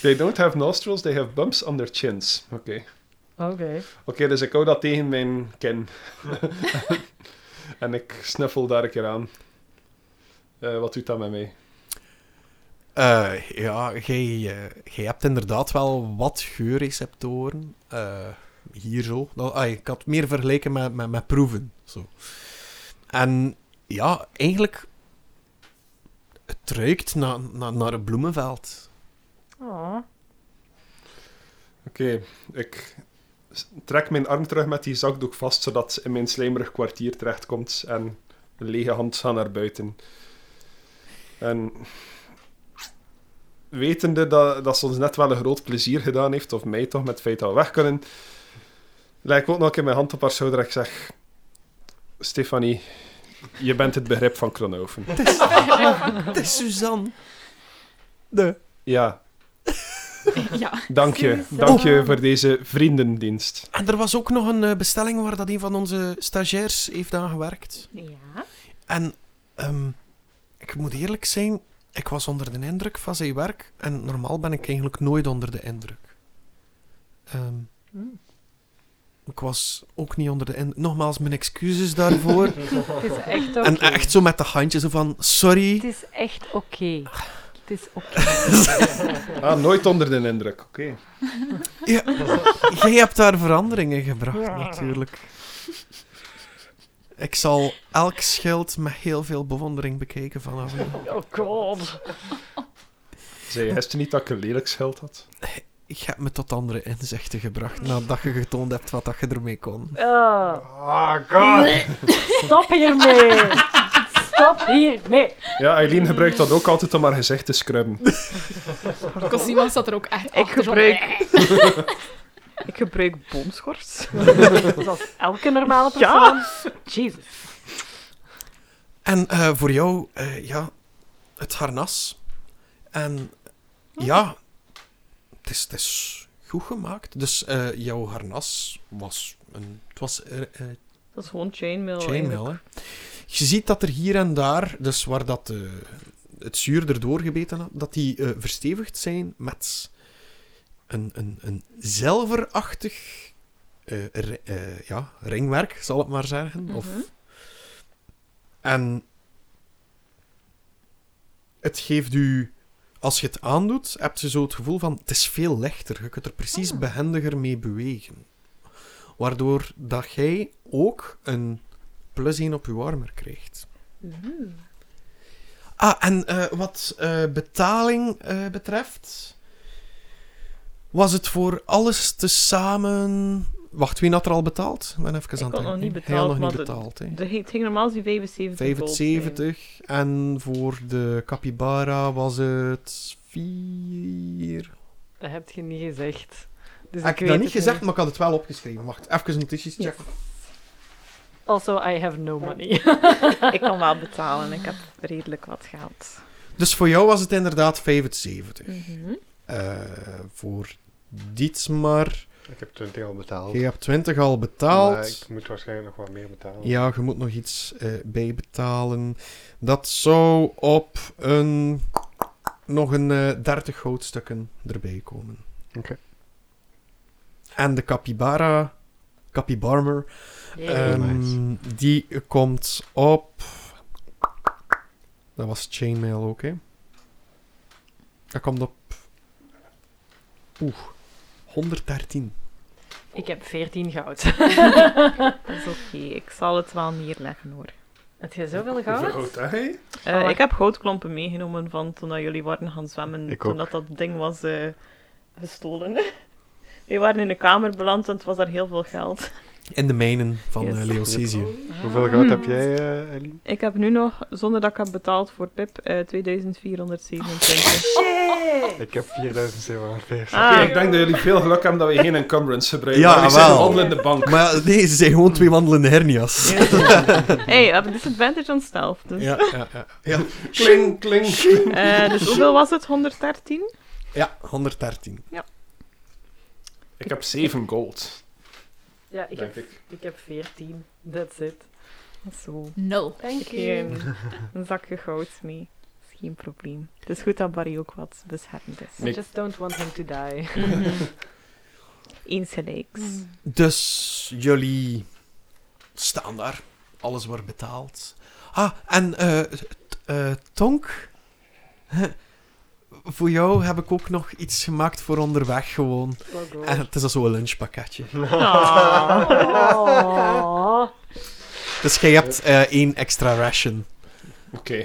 Speaker 4: they don't have nostrils, they have bumps on their chins. Oké,
Speaker 3: Oké.
Speaker 4: Oké, dus ik hou dat tegen mijn kin. en ik snuffel daar een keer aan. Eh, wat doet dat met mij?
Speaker 1: Eh, ja, jij eh, jij hebt inderdaad wel wat geurreceptoren. Eh, hier zo. Nou, ah, ik had het meer vergelijken met, met, met proeven. Zo. En ja, eigenlijk... Het ruikt na, na, naar een bloemenveld.
Speaker 3: Oh.
Speaker 4: Oké, ik s- trek mijn arm terug met die zakdoek vast, zodat ze in mijn slijmerig kwartier terechtkomt. En een lege hand gaat naar buiten. En wetende dat, dat ze ons net wel een groot plezier gedaan heeft, of mij toch met het feit dat we weg kunnen, Lijkt ook nog een keer mijn hand op haar schouder en ik zeg... Stefanie, je bent het begrip van Kronoven.
Speaker 1: Het is, het is Suzanne. De.
Speaker 4: Ja,
Speaker 6: ja.
Speaker 4: dank je. Dank je voor deze vriendendienst.
Speaker 1: En er was ook nog een eh, bestelling waar dat een van onze stagiairs heeft aan gewerkt.
Speaker 5: Ja.
Speaker 1: En ehm, ik moet eerlijk zijn, ik was onder de indruk van zijn werk. En normaal ben ik eigenlijk nooit onder de indruk. Ehm,
Speaker 3: Mm.
Speaker 1: ik was ook niet onder de indruk. Nogmaals, mijn excuses daarvoor.
Speaker 3: Het is echt oké.
Speaker 1: En echt zo met de handjes zo van, sorry.
Speaker 3: Het is echt oké. Het is oké.
Speaker 2: [LAUGHS]
Speaker 4: Ah, nooit onder de indruk. Oké.
Speaker 1: Ja, jij hebt daar veranderingen gebracht, natuurlijk. Ik zal elk schild met heel veel bewondering bekijken vanaf nu.
Speaker 3: Oh god.
Speaker 4: Zei je juist niet dat ik een lelijk schild had?
Speaker 1: Ik heb me tot andere inzichten gebracht nadat je getoond hebt wat dat je ermee kon.
Speaker 3: Ah,
Speaker 2: Ah, god.
Speaker 3: stop hiermee. Stop hiermee.
Speaker 4: Ja, Eileen gebruikt dat ook altijd om haar gezicht te scrubben.
Speaker 6: Cosima zat er ook echt
Speaker 5: Ik
Speaker 6: achter van, "Eh,
Speaker 5: gebruik... [LAUGHS] ik gebruik boomschors.
Speaker 3: Zoals elke normale persoon.
Speaker 5: Ja.
Speaker 3: Jesus.
Speaker 1: En eh, voor jou, eh, ja, het harnas. En ja, het is, het is goed gemaakt. Dus eh, jouw harnas was een... Het was eh, eh,
Speaker 5: Dat is gewoon chainmail.
Speaker 1: Chainmail,
Speaker 5: eigenlijk.
Speaker 1: hè. Je ziet dat er hier en daar, dus waar dat, eh, het zuur erdoor gebeten had, dat die eh, verstevigd zijn met een, een, een zilverachtig eh, ri- eh, ja, ringwerk, zal ik maar zeggen. of,
Speaker 5: Mhm.
Speaker 1: en het geeft u, als je het aandoet, heb je zo het gevoel van het is veel lichter. Je kunt er precies
Speaker 5: Ah.
Speaker 1: behendiger mee bewegen. Waardoor dat jij ook een plus 1 op je armer krijgt.
Speaker 5: Mm-hmm.
Speaker 1: Ah, en eh, wat eh, betaling eh, betreft, was het voor alles tezamen. Wacht, wie had er al betaald? Ik ben even aan
Speaker 5: had
Speaker 1: het
Speaker 5: nog niet
Speaker 1: denken. Hij had
Speaker 5: betaald,
Speaker 1: nog
Speaker 5: maar
Speaker 1: niet
Speaker 5: de-
Speaker 1: betaald. hè.
Speaker 5: De, het ging normaal gezien 75 gold zijn.
Speaker 1: 75. En voor de capybara was het 4.
Speaker 3: Dat heb je niet gezegd. Dus
Speaker 1: heb ik
Speaker 3: ik weet
Speaker 1: dat niet
Speaker 3: het
Speaker 1: gezegd, maar ik had het wel opgeschreven. Wacht, even een notities checken.
Speaker 3: Also, I have no money.
Speaker 5: [LAUGHS] Ik kan wel betalen. Ik heb redelijk wat geld.
Speaker 1: Dus voor jou was het inderdaad 75.
Speaker 5: Mhm.
Speaker 1: Eh, voor Dietmar.
Speaker 2: Ik heb 20 al betaald.
Speaker 1: Je hebt 20 al betaald.
Speaker 2: Maar ik moet waarschijnlijk nog wat meer betalen.
Speaker 1: Ja, je moet nog iets eh, bijbetalen. Dat zou op een... nog een eh 30 goudstukken erbij komen.
Speaker 2: Oké.
Speaker 1: En de capybara... Capybarmer.
Speaker 3: Yay.
Speaker 1: ehm,
Speaker 2: nice.
Speaker 1: Die komt op... Dat was chainmail ook, hè? Dat komt op... Oeh. 113.
Speaker 3: [LAUGHS] Ik heb 14 goud.
Speaker 5: Dat is oké. Ik zal het wel neerleggen hoor.
Speaker 3: Heb je zoveel goud?
Speaker 4: hè?
Speaker 5: Eh,
Speaker 3: Ah, maar-
Speaker 5: ik heb goudklompen meegenomen van toen dat jullie waren gaan zwemmen.
Speaker 2: Ik
Speaker 5: toen
Speaker 2: ook.
Speaker 5: dat dat ding was eh, gestolen. [LAUGHS] jullie waren in de kamer beland, want het was daar heel veel geld.
Speaker 1: In de mijnen van
Speaker 5: Yes.
Speaker 1: eh, Leocesië.
Speaker 2: Hoeveel goud heb jij, eh Eileen?
Speaker 5: Ik heb nu nog, zonder dat ik heb betaald voor Pip, eh 2427.
Speaker 2: Ik heb 4740.
Speaker 5: Ah,
Speaker 4: Ik denk dat jullie veel geluk hebben dat we geen encumbrance gebruiken.
Speaker 1: Ja,
Speaker 4: Ja, we zijn
Speaker 1: wel.
Speaker 4: handelen in de bank.
Speaker 1: Maar ja, nee, ze zijn gewoon twee wandelende hernias.
Speaker 5: hey, I have a disadvantage on stealth.
Speaker 4: Hm?
Speaker 5: Dus,
Speaker 1: Ja, ja, ja. ja.
Speaker 4: Kling, kling.
Speaker 5: Eh, dus hoeveel was het? 113?
Speaker 1: Ja, 113.
Speaker 4: Ik heb 7 gold,
Speaker 3: Ja, ik
Speaker 4: denk
Speaker 3: heb,
Speaker 4: ik.
Speaker 3: ik heb 14. That's it. eh,
Speaker 5: Zo.
Speaker 6: Nul.
Speaker 3: Thank
Speaker 5: Ik neem [LAUGHS] een zakje goud mee. Is geen probleem. Het is goed dat Barry ook wat beschermd is.
Speaker 3: I just don't want him to die.
Speaker 5: Eens gelijks.
Speaker 1: Dus jullie staan daar. Alles wordt betaald. Ah, en eh, t- eh, Tonk? Huh. Voor jou heb ik ook nog iets gemaakt voor onderweg gewoon.
Speaker 3: Oh god.
Speaker 1: En het is al zo'n lunchpakketje.
Speaker 3: Oh.
Speaker 1: Dus jij hebt eh, één extra ration.
Speaker 4: Oké.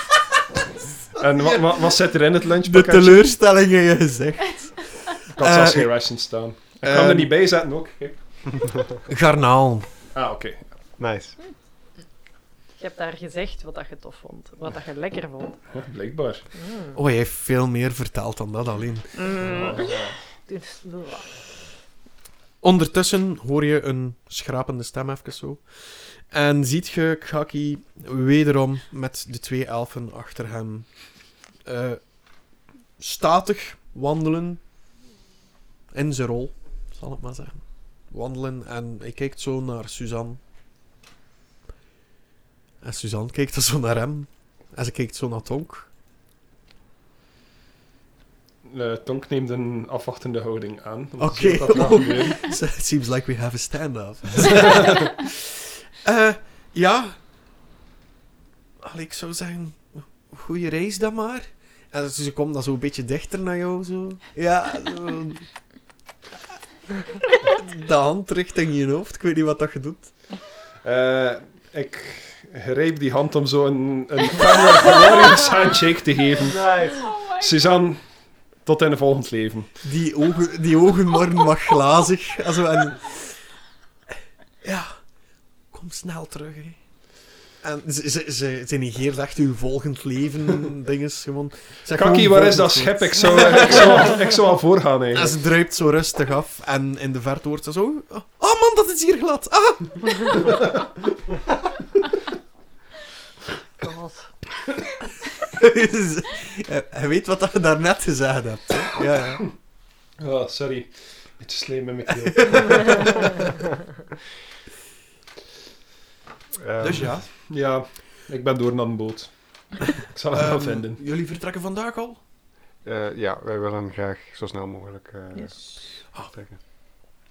Speaker 4: [LAUGHS] en wat, wat, wat zit er in het
Speaker 1: De
Speaker 4: lunchpakket?
Speaker 1: teleurstelling in je gezicht.
Speaker 4: Ik had zelfs
Speaker 1: Eh,
Speaker 4: geen rations staan. Ik kan er
Speaker 1: ehm,
Speaker 4: niet bij zetten ook. Kijk.
Speaker 1: Garnaal.
Speaker 4: Ah, oké.
Speaker 2: Nice.
Speaker 3: Je hebt daar gezegd wat dat je tof vond. Wat dat je lekker vond. Mm.
Speaker 4: Ja, blijkbaar.
Speaker 1: Oh, hij heeft veel meer verteld dan dat alleen.
Speaker 3: Dus,
Speaker 1: Ondertussen hoor je een schrapende stem even zo. En ziet je Kaki wederom met de twee elfen achter hem. eh, statig wandelen. In zijn rol, zal ik maar zeggen. Wandelen en hij kijkt zo naar Suzanne. En Suzanne kijkt dan zo naar hem. En ze kijkt zo naar Tonk.
Speaker 4: Eh, Tonk neemt een afwachtende houding aan. om te
Speaker 1: Oké.
Speaker 4: zien wat er gaat gebeuren.
Speaker 1: [LAUGHS] So it seems like we have a stand-up. [LAUGHS] Eh, ja. Allee, ik zou zeggen, goede reis dan maar. En ze ze komt dan zo een beetje dichter naar jou, zo. Ja. zo. De hand richting je hoofd. Ik weet niet wat dat je doet.
Speaker 4: Eh, ik greep die hand om zo een, een Family Glorious handshake te
Speaker 3: Oh
Speaker 4: geven.
Speaker 2: Nice.
Speaker 4: Suzanne, tot in een volgend leven.
Speaker 1: Die ogen, die ogen worden wat glazig. En zo, en... Ja, kom snel terug, hè. En ze, ze, ze, ze negeert echt uw volgend leven [LAUGHS] dinges gewoon. Zeg
Speaker 4: Kaki,
Speaker 1: gewoon
Speaker 4: waar is dat
Speaker 1: volgend
Speaker 4: schep? Ik zou, ik [LAUGHS] zou, ik zou al voorgaan,
Speaker 1: En
Speaker 4: eigenlijk.
Speaker 1: ze druipt zo rustig af en in de verte wordt ze zo... Oh man, dat is hier glad! Ah! [LAUGHS]
Speaker 3: God.
Speaker 1: Dus, eh, Hij weet wat dat je daarnet gezegd hebt. hè. Ja, ja.
Speaker 4: Oh, sorry. Het is slim met mijn keel. [LAUGHS]
Speaker 2: Ehm,
Speaker 1: Dus ja.
Speaker 4: Ja, ik ben door naar een boot. Ik zal het wel
Speaker 1: Ehm,
Speaker 4: vinden.
Speaker 1: jullie vertrekken vandaag al?
Speaker 2: eh, ja, wij willen graag zo snel mogelijk eh,
Speaker 1: Ah,
Speaker 2: vertrekken.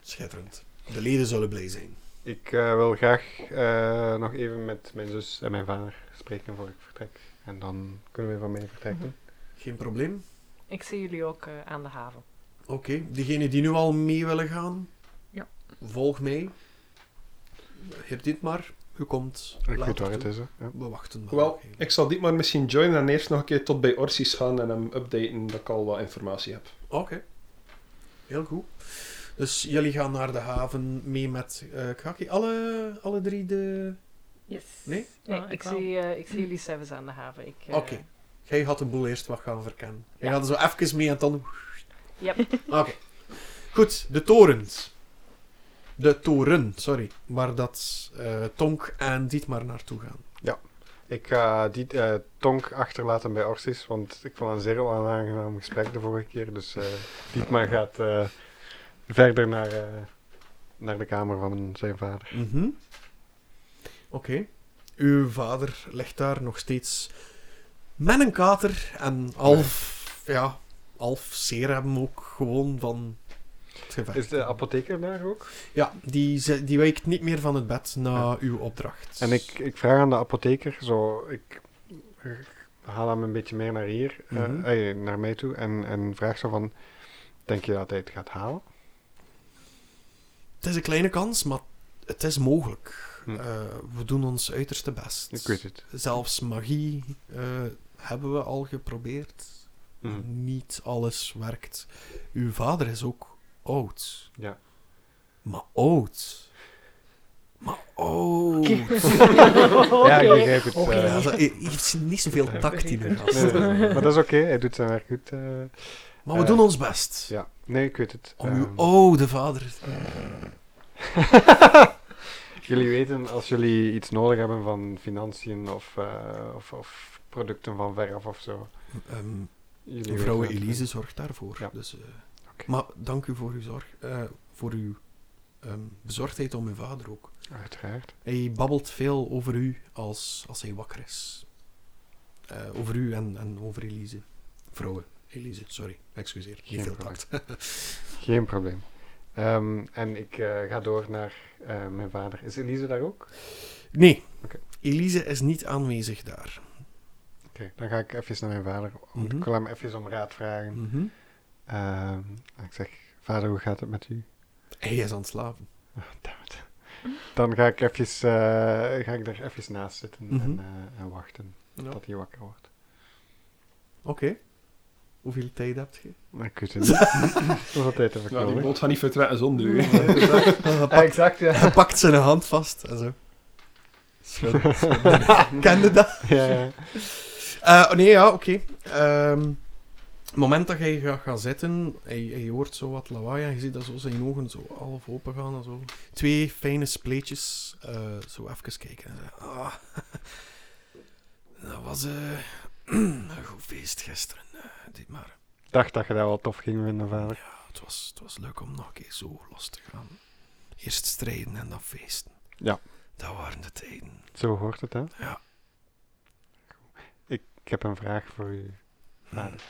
Speaker 1: schitterend. De leden zullen blij zijn.
Speaker 2: Ik eh, wil graag eh, nog even met mijn zus en mijn vader spreken voor ik vertrek. En dan kunnen we van mij vertrekken.
Speaker 1: Geen probleem.
Speaker 3: Ik zie jullie ook eh, aan de haven.
Speaker 1: Oké, diegenen die nu al mee willen gaan,
Speaker 3: Ja.
Speaker 1: volg mij. Heb dit maar, u komt.
Speaker 2: Goed
Speaker 1: later
Speaker 2: hoor, het
Speaker 1: toe.
Speaker 2: is er. Ja.
Speaker 1: We wachten maar.
Speaker 4: Wel,
Speaker 1: even.
Speaker 4: ik zal dit maar misschien joinen en eerst nog een keer tot bij Orsies gaan en hem updaten dat ik al wat informatie heb.
Speaker 1: Oké. Heel goed. Dus jullie gaan naar de haven mee met eh Kaki. Alle, alle drie de...
Speaker 5: Yes.
Speaker 1: Nee?
Speaker 3: Nee,
Speaker 5: Ja,
Speaker 3: ik,
Speaker 5: wel.
Speaker 3: zie, eh, ik zie jullie sevens aan de haven. Ik, eh, [LAUGHS]
Speaker 1: Oké. Jij had de boel eerst wat gaan verkennen. Jij
Speaker 3: Ja.
Speaker 1: gaat er zo even mee en dan...
Speaker 3: Yep.
Speaker 1: [LAUGHS] Oké. Goed, de torens. De toren, sorry. Waar dat eh, Tonk en Dietmar naartoe gaan.
Speaker 2: Ik ga die eh, tonk achterlaten bij Orsis, want ik vond een zeer onaangenaam gesprek de vorige keer. Dus eh Dietmar gaat eh, verder naar, eh, naar de kamer van zijn vader.
Speaker 1: Mhm. Oké. Uw vader ligt daar nog steeds met een kater en Alf, ja, Alf zeer hem ook gewoon van het gevecht.
Speaker 2: Is de apotheker daar ook?
Speaker 1: Ja, die, ze- die wijkt niet meer van het bed na uw opdracht.
Speaker 2: En ik, ik vraag aan de apotheker, zo, ik haal hem een beetje meer naar hier, eh,
Speaker 1: Mhm.
Speaker 2: eh, naar mij toe, en, en vraag zo van, denk je dat hij het gaat halen?
Speaker 1: Het is een kleine kans, maar het is mogelijk.
Speaker 2: Hm.
Speaker 1: Eh, we doen ons uiterste best.
Speaker 2: Ik weet het.
Speaker 1: Zelfs magie eh, hebben we al geprobeerd.
Speaker 2: Mhm.
Speaker 1: Niet alles werkt. Uw vader is ook oud.
Speaker 2: Ja.
Speaker 1: Maar oud. Maar oud.
Speaker 3: Oh,
Speaker 2: Ja, ik begrijp het.
Speaker 1: Oké,
Speaker 2: eh.
Speaker 1: ja, [LAUGHS] zo- hij heeft niet zoveel tact in de gast.
Speaker 2: Nee, nee, nee. maar dat is oké, hij doet zijn werk goed. eh.
Speaker 1: Maar we
Speaker 2: Eh,
Speaker 1: doen ons best.
Speaker 2: ja, nee, ik weet het.
Speaker 1: Om
Speaker 2: Ehm,
Speaker 1: uw oude vader.
Speaker 2: [LAUGHS] Jullie weten, als jullie iets nodig hebben van financiën of, eh, of, of producten van veraf of zo.
Speaker 1: ehm,
Speaker 2: Jullie
Speaker 1: Mevrouw
Speaker 2: weten het.
Speaker 1: Elise zorgt daarvoor.
Speaker 2: Ja.
Speaker 1: Dus, eh,
Speaker 2: Oké.
Speaker 1: Maar dank u voor uw zorg. eh, voor uw ehm, bezorgdheid om uw vader ook.
Speaker 2: Uiteraard.
Speaker 1: Hij babbelt veel over u als, als hij wakker is. Eh, over u en, en over Elise. Vrouwen. Elise, sorry. Excuseer.
Speaker 2: Geen
Speaker 1: Niet veel
Speaker 2: probleem.
Speaker 1: tact.
Speaker 2: Geen probleem. Ehm, en ik eh, ga door naar eh, mijn vader. Is Elise daar ook? Oké,
Speaker 1: Nee.
Speaker 2: Oké.
Speaker 1: Elise is niet aanwezig daar.
Speaker 2: dan ga ik even naar mijn vader. Om,
Speaker 1: Mhm.
Speaker 2: Ik wil hem even om raad vragen.
Speaker 1: Mhm.
Speaker 2: Ehm, en ik zeg, vader, hoe gaat het met u?
Speaker 1: Hij is aan het slapen.
Speaker 2: Dan ga ik, eventjes, eh, ga ik er even naast zitten en,
Speaker 1: Mhm.
Speaker 2: eh, en wachten
Speaker 1: Ja.
Speaker 2: tot hij wakker wordt.
Speaker 1: Oké. Hoeveel tijd hebt
Speaker 2: [LAUGHS]
Speaker 1: je?
Speaker 2: Ik weet het niet. Hoeveel tijd heb ik
Speaker 4: Nou, die
Speaker 2: nodig?
Speaker 4: boot gaat niet vertrekken zonder u.
Speaker 2: Eh,
Speaker 1: [LAUGHS]
Speaker 2: Exact, ja.
Speaker 1: Hij pakt zijn hand vast. En zo. Schud- [LAUGHS]
Speaker 2: [LAUGHS]
Speaker 1: schud. Kende dat?
Speaker 2: ja, ja.
Speaker 1: oh, Eh, nee, ja, oké. Ehm, het moment dat hij gaat gaan zitten, hij, hij hoort zo wat lawaai en je ziet dat zo zijn ogen zo half open gaan. En zo. Twee fijne spleetjes, eh, zo even kijken. En zeggen, ah, [LAUGHS] dat was eh, [CLEARS THROAT] een goed feest gisteren, eh, dit maar.
Speaker 2: Ik dacht dat je dat wel tof ging vinden, vader.
Speaker 1: Ja, het was, het was leuk om nog een keer zo los te gaan. Eerst strijden en dan feesten.
Speaker 2: Ja.
Speaker 1: Dat waren de tijden.
Speaker 2: Zo hoort het, hè?
Speaker 1: Ja.
Speaker 2: Ik, ik heb een vraag voor u. Vader.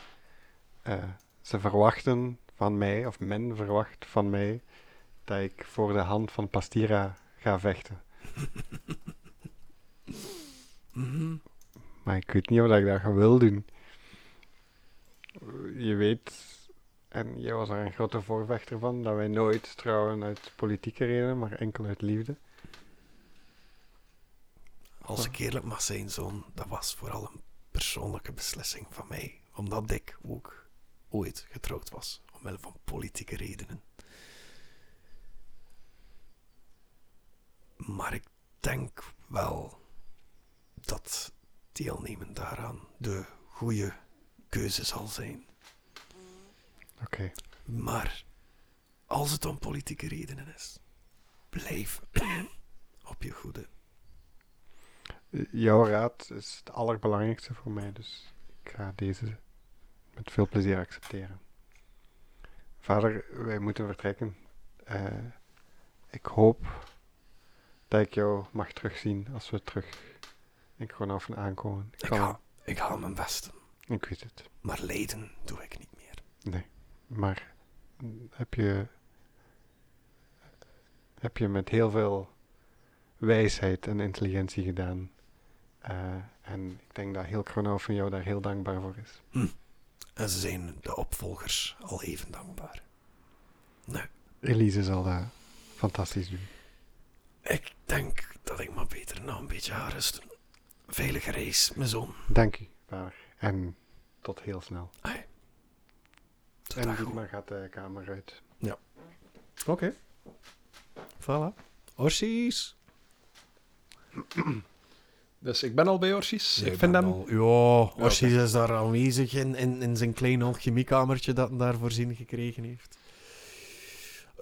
Speaker 2: Eh, ze verwachten van mij, of men verwacht van mij, dat ik voor de hand van Pastira ga vechten.
Speaker 1: Mhm.
Speaker 2: Maar ik weet niet of dat ik dat wil doen. Je weet, en jij was er een grote voorvechter van, dat wij nooit trouwen uit politieke redenen, maar enkel uit liefde.
Speaker 1: Als ik eerlijk mag zijn, zoon, dat was vooral een persoonlijke beslissing van mij. Omdat ik ook ooit getrouwd was, omwille van politieke redenen. Maar ik denk wel dat deelnemen daaraan de goede keuze zal zijn.
Speaker 2: Oké.
Speaker 1: Maar als het om politieke redenen is, blijf [CLEARS THROAT] op je goede.
Speaker 2: Jouw raad is het allerbelangrijkste voor mij, dus ik ga deze met veel plezier accepteren. Vader, wij moeten vertrekken. Eh, ik hoop dat ik jou mag terugzien als we terug in Kronoven aankomen. Ik,
Speaker 1: Ik
Speaker 2: kan-
Speaker 1: ga, ik ga mijn best doen.
Speaker 2: ik weet het,
Speaker 1: Maar lijden doe ik niet meer.
Speaker 2: maar mm, heb je, heb je met heel veel wijsheid en intelligentie gedaan. Eh, en ik denk dat heel Kronoven jou daar heel dankbaar voor is.
Speaker 1: En ze zijn de opvolgers al even dankbaar.
Speaker 2: Elise zal dat fantastisch doen.
Speaker 1: Ik denk dat ik maar beter nog een beetje ga rusten. Veilige reis, mijn zoon.
Speaker 2: Dank u, vader. En tot heel snel.
Speaker 1: Tot
Speaker 2: En
Speaker 1: dag,
Speaker 2: goed,
Speaker 1: hoor.
Speaker 2: maar gaat de kamer uit.
Speaker 1: Oké. Voilà. Orsies.
Speaker 4: Dus ik ben al bij Orsies. ik vind hem.
Speaker 1: Ja, Orsies is daar aanwezig in, in, in zijn klein alchemiekamertje dat hij daar voorzien gekregen heeft.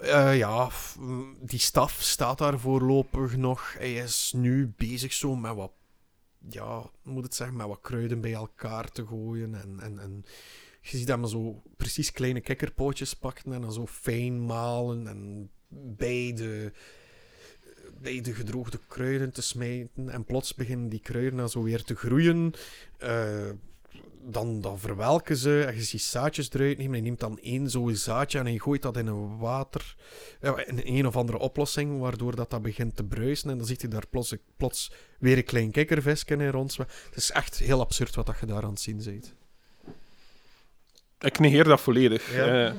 Speaker 1: Eh, ja, f- mm, die staf staat daar voorlopig nog. Hij is nu bezig zo met wat... Ja, hoe moet het zeggen? Met wat kruiden bij elkaar te gooien. En, en, en je ziet dat men zo precies kleine kikkerpootjes pakken en dan zo fijn malen. En bij de bij de gedroogde kruiden te smijten. En plots beginnen die kruiden dan zo weer te groeien. Eh, dan, dan verwelken ze. En je ziet zaadjes eruit nemen. Hij neemt dan één zo'n zaadje en hij gooit dat in een water. ja, In een of andere oplossing, waardoor dat, dat begint te bruisen. En dan ziet hij daar plots, plots weer een klein kikkervisje in rondzwemmen. Het is echt heel absurd wat dat je daar aan het zien bent.
Speaker 4: Ik negeer dat volledig.
Speaker 1: Ja.
Speaker 4: Eh,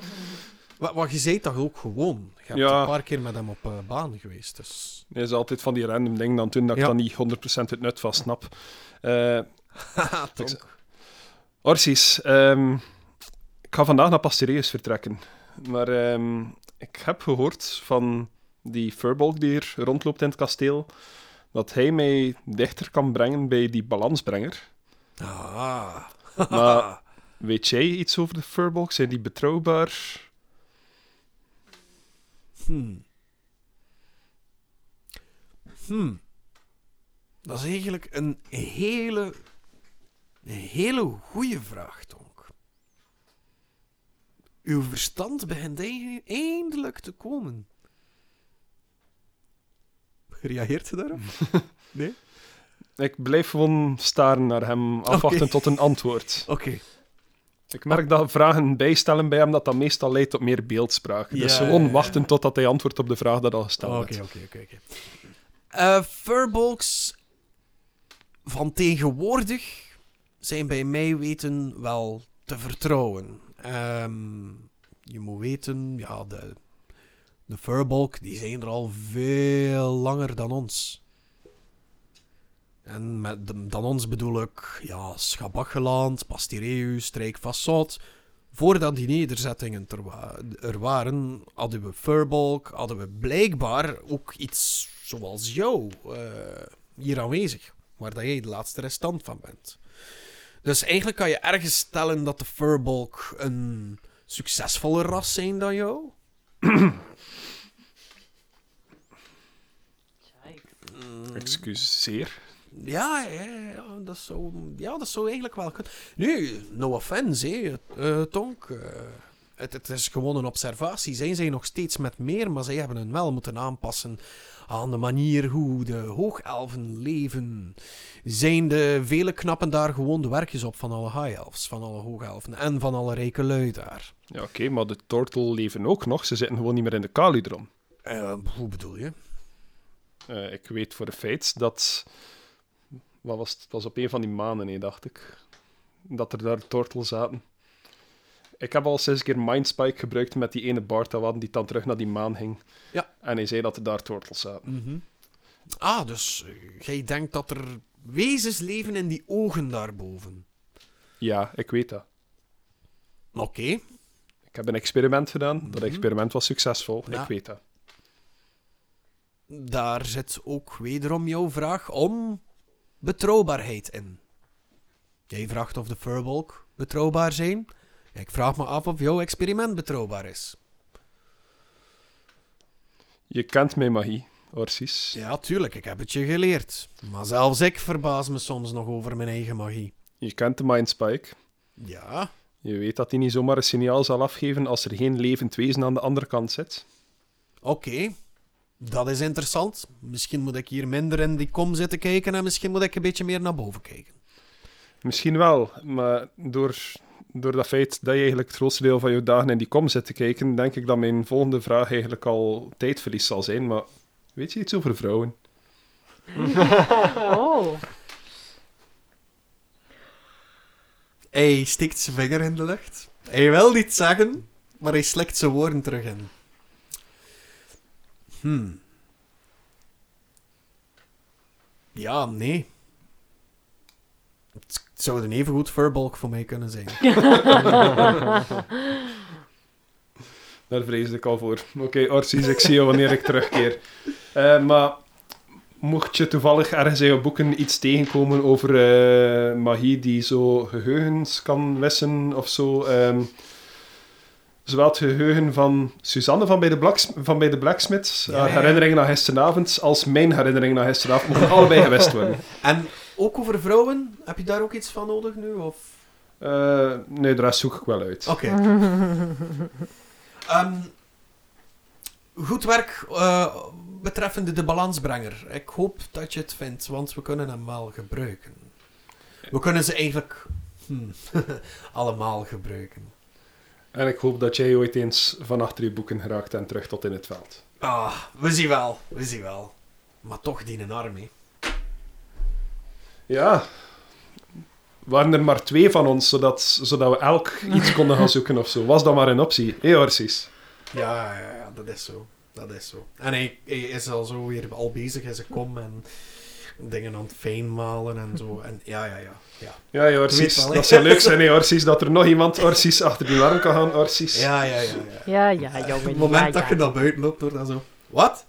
Speaker 1: Wat, wat je zei dat ook gewoon. Je hebt
Speaker 4: Ja.
Speaker 1: een paar keer met hem op eh, baan geweest. Dus...
Speaker 4: hij is altijd van die random dingen dan doen dat
Speaker 1: Ja.
Speaker 4: ik dan niet 100% het nut van
Speaker 1: [LAUGHS]
Speaker 4: snap. Eh,
Speaker 1: Haha,
Speaker 4: Tonk. Orsies, ehm, ik ga vandaag naar Pastereus vertrekken. Maar ehm, ik heb gehoord van die furbolg die hier rondloopt in het kasteel, dat hij mij dichter kan brengen bij die
Speaker 1: [LAUGHS]
Speaker 4: balansbrenger.
Speaker 1: Ah.
Speaker 4: Maar- Weet jij iets over de furbolg? Zijn die betrouwbaar?
Speaker 1: Hmm. Hmm. Dat is eigenlijk een hele, een hele goede vraag, Tonk. Uw verstand begint einde- eindelijk te komen. Reageert ze daarop?
Speaker 4: Ik blijf gewoon staren naar hem, afwachten
Speaker 1: Oké.
Speaker 4: tot een antwoord.
Speaker 1: Oké.
Speaker 4: Ik merk dat vragen bijstellen bij hem, dat dat meestal leidt tot meer beeldspraak. dus
Speaker 1: Ja,
Speaker 4: gewoon
Speaker 1: ja, ja.
Speaker 4: wachten totdat hij antwoordt op de vraag dat al gesteld werd.
Speaker 1: Oké, oké, oké. oké. Eh, Furbolgs van tegenwoordig zijn bij mij weten wel te vertrouwen. Ehm, je moet weten, ja, de, de Furbolg, die zijn er al veel langer dan ons. En met de- dan ons bedoel ik, ja, Schabachgeland, Pastireus, Strijk Vassot. Voordat die nederzettingen er, wa- er waren, hadden we Furbolg, hadden we blijkbaar ook iets zoals jou eh, hier aanwezig, waar dat jij de laatste restant van bent. Dus eigenlijk kan je ergens stellen dat de Furbolg een succesvoller ras zijn dan jou. Mm,
Speaker 4: Excuseer.
Speaker 1: Ja, ja, ja, dat zou, ja, dat zou eigenlijk wel kunnen. Nu, no offense, hè, eh, Tonk. eh, het, het is gewoon een observatie. Zijn zij nog steeds met meer, maar zij hebben hun wel moeten aanpassen aan de manier hoe de hoogelfen leven. Zijn de vele knappen daar gewoon de werkjes op van alle high-elfs, van alle hoogelfen en van alle rijke lui daar?
Speaker 4: Ja, oké, maar de tortel leven ook nog. Ze zitten gewoon niet meer in de kaludron.
Speaker 1: Eh, hoe bedoel je?
Speaker 4: Eh, ik weet voor een feit dat... Wat was het? het was op een van die maanden, nee, dacht ik. Dat er daar tortel zaten. Ik heb al zes keer Mindspike gebruikt met die ene Bart dat we hadden, die dan terug naar die maan ging.
Speaker 1: Ja.
Speaker 4: En hij zei dat er daar tortels zaten.
Speaker 1: Mhm. Ah, dus eh, jij denkt dat er wezens leven in die ogen daarboven.
Speaker 4: Ja, ik weet dat.
Speaker 1: Oké.
Speaker 4: Ik heb een experiment gedaan. Dat
Speaker 1: Mhm.
Speaker 4: experiment was succesvol.
Speaker 1: Ja.
Speaker 4: Ik weet dat.
Speaker 1: Daar zit ook wederom jouw vraag om betrouwbaarheid in. Jij vraagt of de Furbolg betrouwbaar zijn. Ik vraag me af of jouw experiment betrouwbaar is.
Speaker 4: Je kent mijn magie, Orsis.
Speaker 1: Ja, tuurlijk, ik heb het je geleerd. Maar zelfs ik verbaas me soms nog over mijn eigen magie.
Speaker 4: Je kent de Mindspike.
Speaker 1: Ja,
Speaker 4: Je weet dat hij niet zomaar een signaal zal afgeven als er geen levend wezen aan de andere kant zit.
Speaker 1: oké. Dat is interessant. Misschien moet ik hier minder in die kom zitten kijken en misschien moet ik een beetje meer naar boven kijken.
Speaker 4: Misschien wel, maar door, door dat feit dat je eigenlijk het grootste deel van je dagen in die kom zit te kijken, denk ik dat mijn volgende vraag eigenlijk al tijdverlies zal zijn. Maar weet je iets over vrouwen?
Speaker 3: Oh,
Speaker 1: Hij steekt zijn vinger in de lucht. Hij wil niet zeggen, maar hij slikt zijn woorden terug in. Hmm. Ja, nee. Het zou een evengoed furbalk voor mij kunnen zijn.
Speaker 4: Daar vreesde ik al voor. Oké, Orsis, ik zie je wanneer ik terugkeer. Eh, maar mocht je toevallig ergens in je boeken iets tegenkomen over eh, magie die zo geheugens kan wissen of zo. ehm, zowel het geheugen van Suzanne van bij de, Blaks van bij de Blacksmith,
Speaker 1: Ja,
Speaker 4: haar
Speaker 1: ja, ja.
Speaker 4: herinnering aan gisteravond, als mijn herinnering aan gisteravond, mogen allebei gewist worden.
Speaker 1: En ook over vrouwen, heb je daar ook iets van nodig nu? Of?
Speaker 4: Eh, nee, de rest zoek ik wel uit.
Speaker 1: Oké. Ehm, goed werk eh, betreffende de balansbrenger. Ik hoop dat je het vindt, want we kunnen hem wel gebruiken. We kunnen ze eigenlijk hmm, [LAUGHS] allemaal gebruiken.
Speaker 4: En ik hoop dat jij ooit eens van achter je boeken geraakt en terug tot in het veld.
Speaker 1: Ah, we zien wel, we zien wel. Maar toch die een arm, hè.
Speaker 4: Ja. Waren er maar twee van ons, zodat, zodat we elk iets konden gaan zoeken of zo. Was dat maar een optie. Hé, Orsis.
Speaker 1: Ja, ja, ja, dat is zo. Dat is zo. En hij, hij is al zo weer al bezig in zijn kom en dingen aan het fijnmalen en zo. En ja, ja, ja. ja.
Speaker 4: Ja, hé,
Speaker 1: Weet
Speaker 4: Orsis.
Speaker 1: wel, hè.
Speaker 4: dat zou leuk zijn, hé, Orsis. Dat er nog iemand Orsis achter die arm kan gaan, Orsis.
Speaker 1: Ja, ja, ja. ja.
Speaker 3: ja, ja,
Speaker 1: Op
Speaker 3: jongen.
Speaker 1: het moment
Speaker 3: ja,
Speaker 1: dat
Speaker 3: ja.
Speaker 1: je naar buiten loopt, wordt dan zo... Wat?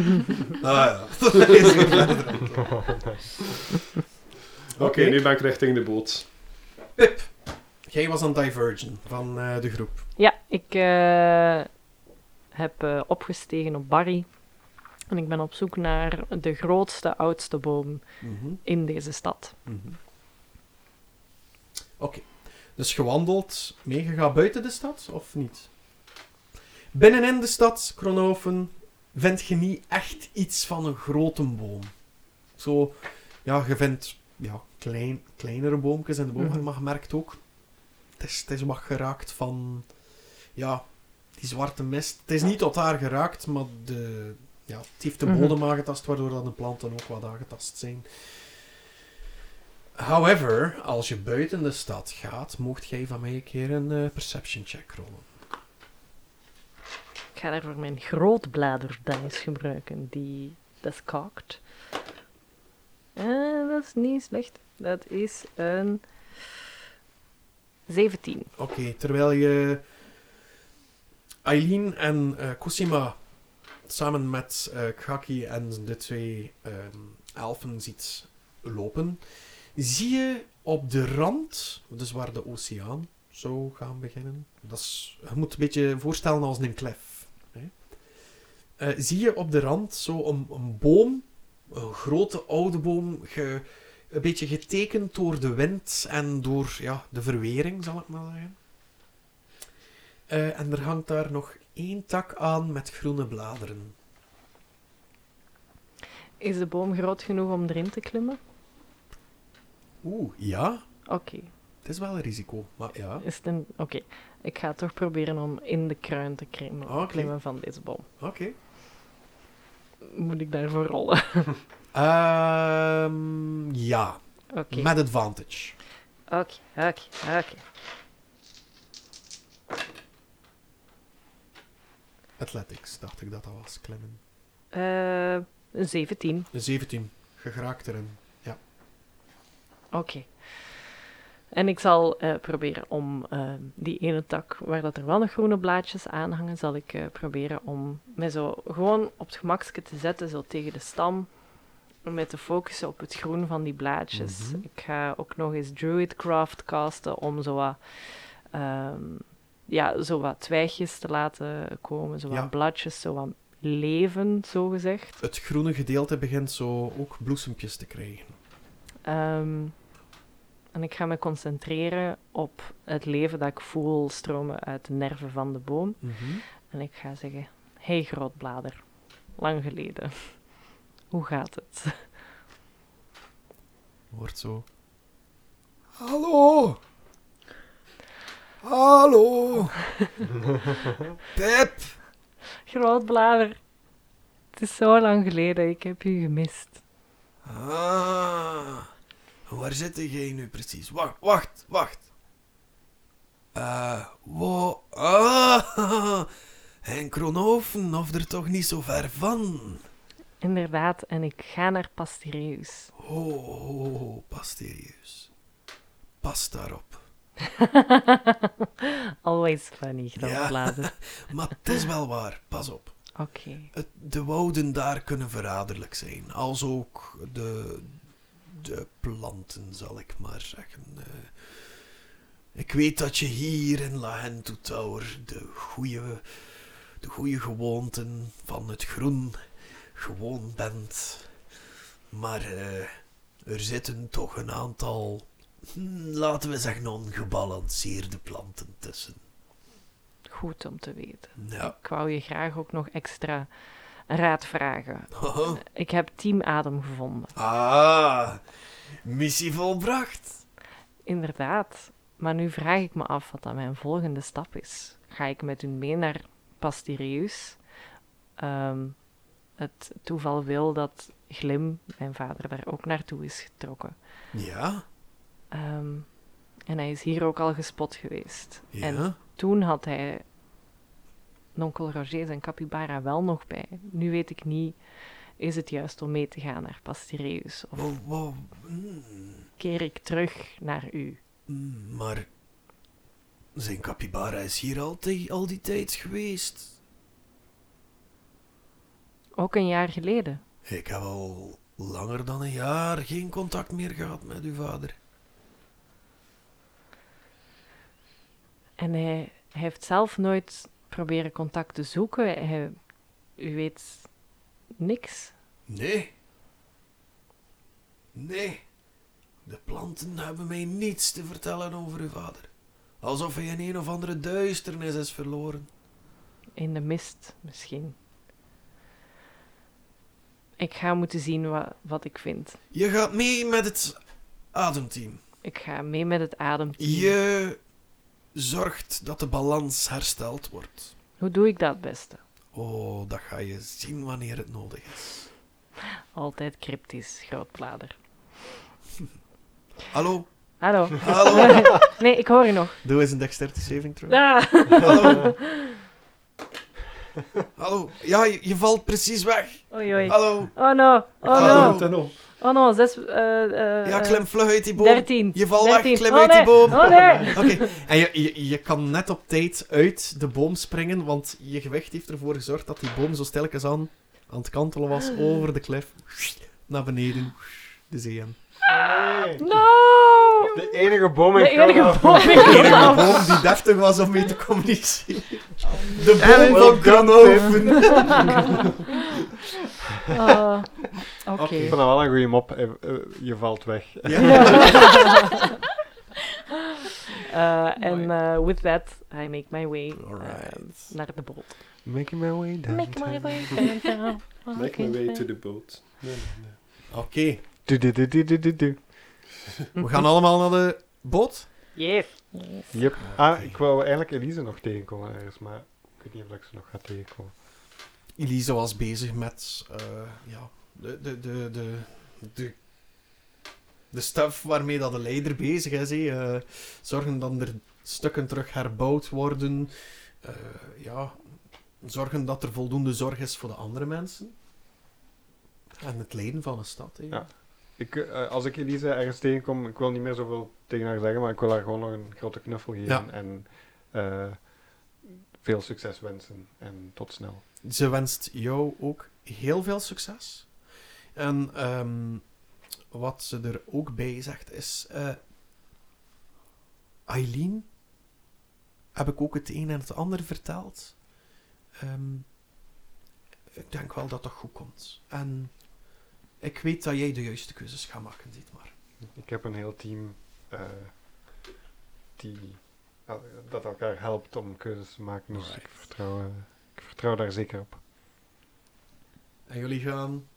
Speaker 1: [LAUGHS] ah ja, [LAUGHS] dat is weer verder.
Speaker 4: Oké, nu ben ik richting de boot.
Speaker 1: Pip, jij was aan Divergen van eh, de groep.
Speaker 3: Ja, ik eh, heb eh, opgestegen op Barry. En ik ben op zoek naar de grootste, oudste boom
Speaker 1: Mhm.
Speaker 3: in deze stad.
Speaker 1: Oké. Dus gewandeld, meegegaan buiten de stad, of niet? Binnenin de stad, Kronoven, vind je niet echt iets van een grote boom. Zo, ja, je vindt ja, klein, kleinere boomjes in de boom,
Speaker 3: Mhm.
Speaker 1: maar je merkt ook, het is, het is wat geraakt van, ja, die zwarte mist. Het is niet tot daar geraakt, maar de, ja, het heeft de
Speaker 3: Mhm.
Speaker 1: bodem aangetast, waardoor dat de planten ook wat aangetast zijn. However, als je buiten de stad gaat, mocht jij van mij een keer een eh, perception check rollen.
Speaker 3: Ik ga daarvoor mijn grootbladerdice gebruiken, die dat is cocked. Eh, dat is niet slecht. Dat is een 17.
Speaker 1: Oké, terwijl je Aileen en eh Kusima samen met eh Khaki en de twee ehm elfen ziet lopen, zie je op de rand, dus waar de oceaan zou gaan beginnen. Dat is, je moet het een beetje voorstellen als een klef. Hè? Eh, zie je op de rand zo een, een boom, een grote oude boom, ge, een beetje getekend door de wind en door ja, de verwering, zal ik maar zeggen. Eh, en er hangt daar nog één tak aan met groene bladeren.
Speaker 3: Is de boom groot genoeg om erin te klimmen?
Speaker 1: Oeh, ja,
Speaker 3: Oké.
Speaker 1: het is wel een risico, maar ja.
Speaker 3: Is het een... Oké. Ik ga toch proberen om in de kruin te klimmen,
Speaker 1: Oké.
Speaker 3: klimmen van deze boom.
Speaker 1: Oké.
Speaker 3: Moet ik daarvoor rollen?
Speaker 1: Ehm, ja,
Speaker 3: Oké.
Speaker 1: met advantage.
Speaker 3: Oké, oké, oké.
Speaker 1: Athletics, dacht ik dat dat was, klimmen.
Speaker 3: Eh, Een 17.
Speaker 1: Een 17, geraakt erin.
Speaker 3: Oké. En ik zal eh, proberen om eh, die ene tak, waar dat er wel nog groene blaadjes aan hangen, zal ik eh, proberen om mij zo gewoon op het gemakske te zetten, zo tegen de stam. Om mij te focussen op het groen van die blaadjes.
Speaker 1: Mhm.
Speaker 3: Ik ga ook nog eens Druidcraft casten om zo wat, ehm, ja, zo wat twijgjes te laten komen, zo wat
Speaker 1: Ja.
Speaker 3: blaadjes, zo wat leven, zo gezegd.
Speaker 1: Het groene gedeelte begint zo ook bloesempjes te krijgen.
Speaker 3: Ehm, en ik ga me concentreren op het leven dat ik voel stromen uit de nerven van de boom.
Speaker 1: Mhm.
Speaker 3: En ik ga zeggen: Hey, grootblader, lang geleden. [LAUGHS] Hoe gaat het? [LAUGHS]
Speaker 1: Wordt zo. Hallo! Hallo! Pep!
Speaker 3: Grootblader, het is zo lang geleden, ik heb u gemist.
Speaker 1: Ah, waar zit jij nu precies? Wacht, wacht, wacht. Eh, wow, ah, [LAUGHS] en Kronoven, of er toch niet zo ver van?
Speaker 3: Inderdaad, en ik ga naar Pastireus.
Speaker 1: Ho, ho, ho, pas serieus. Pas daarop.
Speaker 3: [LAUGHS] Always funny, grootblader.
Speaker 1: Maar het is wel waar, pas op.
Speaker 3: Oké.
Speaker 1: Het- de wouden daar kunnen verraderlijk zijn. Als ook de, de planten, zal ik maar zeggen. Eh, ik weet dat je hier in Lahentu Tower de goede de goeie gewoonten van het groen gewoon bent. Maar eh, er zitten toch een aantal, hm, laten we zeggen, ongebalanceerde planten tussen.
Speaker 3: Goed om te weten.
Speaker 1: Ja.
Speaker 3: Ik wou je graag ook nog extra raad vragen.
Speaker 1: Haha.
Speaker 3: Ik heb Team Adem gevonden.
Speaker 1: [LAUGHS] Ah, missie volbracht.
Speaker 3: Inderdaad. Maar nu vraag ik me af wat dan mijn volgende stap is. Ga ik met u mee naar Pastireus? Ehm, het toeval wil dat Glim, mijn vader, daar ook naartoe is getrokken.
Speaker 1: Ja,
Speaker 3: Ehm, en hij is hier ook al gespot geweest.
Speaker 1: ja.
Speaker 3: En toen had hij Nonkel Roger zijn capybara wel nog bij. Nu weet ik niet, is het juist om mee te gaan naar Pastireus? Of
Speaker 1: Wow, wow, mm,
Speaker 3: keer ik terug naar u?
Speaker 1: mm, maar zijn capybara is hier altijd, al die tijd geweest.
Speaker 3: Ook een jaar geleden.
Speaker 1: Ik heb al langer dan een jaar geen contact meer gehad met uw vader.
Speaker 3: En hij, hij heeft zelf nooit proberen contact te zoeken. Hij, u weet niks.
Speaker 1: Nee. Nee. De planten hebben mij niets te vertellen over uw vader. Alsof hij in een of andere duisternis is verloren.
Speaker 3: In de mist misschien. Ik ga moeten zien wa- wat ik vind.
Speaker 1: Je gaat mee met het ademteam.
Speaker 3: Ik ga mee met het ademteam.
Speaker 1: Je zorgt dat de balans hersteld wordt.
Speaker 3: Hoe doe ik dat het beste?
Speaker 1: Oh, dat ga je zien wanneer het nodig is.
Speaker 3: Altijd cryptisch, grootblader.
Speaker 1: Hallo?
Speaker 3: Hallo.
Speaker 1: Hallo?
Speaker 3: [LAUGHS] nee, ik hoor u nog.
Speaker 1: Doe eens een dexterity saving throw.
Speaker 3: Ah.
Speaker 1: Hallo? Hallo? Ja, je, je valt precies weg.
Speaker 3: Oei, oei.
Speaker 1: Hallo?
Speaker 3: Oh no, oh
Speaker 1: Hallo.
Speaker 3: no.
Speaker 4: tunnel.
Speaker 3: Oh no, zes... eh, eh,
Speaker 1: Ah, Ja,
Speaker 3: eh,
Speaker 1: klim vlug uit die boom.
Speaker 3: 13.
Speaker 1: Je valt weg,
Speaker 3: 13.
Speaker 1: klim
Speaker 3: Oh,
Speaker 1: uit die
Speaker 3: nee.
Speaker 1: boom.
Speaker 3: Oh nee.
Speaker 1: Oké, en je, je, je kan net op tijd uit de boom springen, want je gewicht heeft ervoor gezorgd dat die boom zo stilletjes aan aan het kantelen was over de klif. Naar beneden, de zee in.
Speaker 2: Nee.
Speaker 3: No!
Speaker 2: De enige boom in
Speaker 3: De enige
Speaker 2: Kronhoven.
Speaker 3: boom in
Speaker 1: De enige [LAUGHS]
Speaker 3: Kronhoven.
Speaker 1: boom die deftig was om mee te communiceren. De boom van
Speaker 2: En welcome,
Speaker 1: Kronoven.
Speaker 3: Ah, Oké.
Speaker 1: Oké.
Speaker 2: Ik vond dat wel een goede mop. Eh, eh, Je valt weg.
Speaker 3: Eh, En eh, with that, I make my way eh,
Speaker 1: Alright.
Speaker 3: naar de boot.
Speaker 2: Making my way down.
Speaker 3: Make my way downtown.
Speaker 4: Make my way to the boat. Nee, nee, nee.
Speaker 1: Oké,
Speaker 2: Du-du-du-du-du-du.
Speaker 1: we gaan allemaal naar de boot.
Speaker 3: Yes.
Speaker 2: Yep. Ah, ik wou eigenlijk Elise nog tegenkomen ergens, maar ik weet niet of ik ze nog ga tegenkomen.
Speaker 1: Elise was bezig met eh, ja, de, de, de, de, de, de stuff waarmee dat de leider bezig is. hè. Eh, zorgen dat er stukken terug herbouwd worden. Eh, ja, zorgen dat er voldoende zorg is voor de andere mensen. En het leen van een stad. hè.
Speaker 2: Ja. Ik, eh, als ik Elise ergens tegenkom, ik wil niet meer zoveel tegen haar zeggen, maar ik wil haar gewoon nog een grote knuffel geven
Speaker 1: Ja.
Speaker 2: en eh, veel succes wensen. En tot snel.
Speaker 1: Ze wenst jou ook heel veel succes. En ehm, wat ze er ook bij zegt is... eh, Aileen, heb ik ook het een en het ander verteld. Ehm, ik denk wel dat dat goed komt. En ik weet dat jij de juiste keuzes gaat maken, dit maar.
Speaker 2: Ik heb een heel team eh, die eh, dat elkaar helpt om keuzes te maken. Dus ik, vertrouw, eh, ik vertrouw daar zeker op.
Speaker 1: En jullie gaan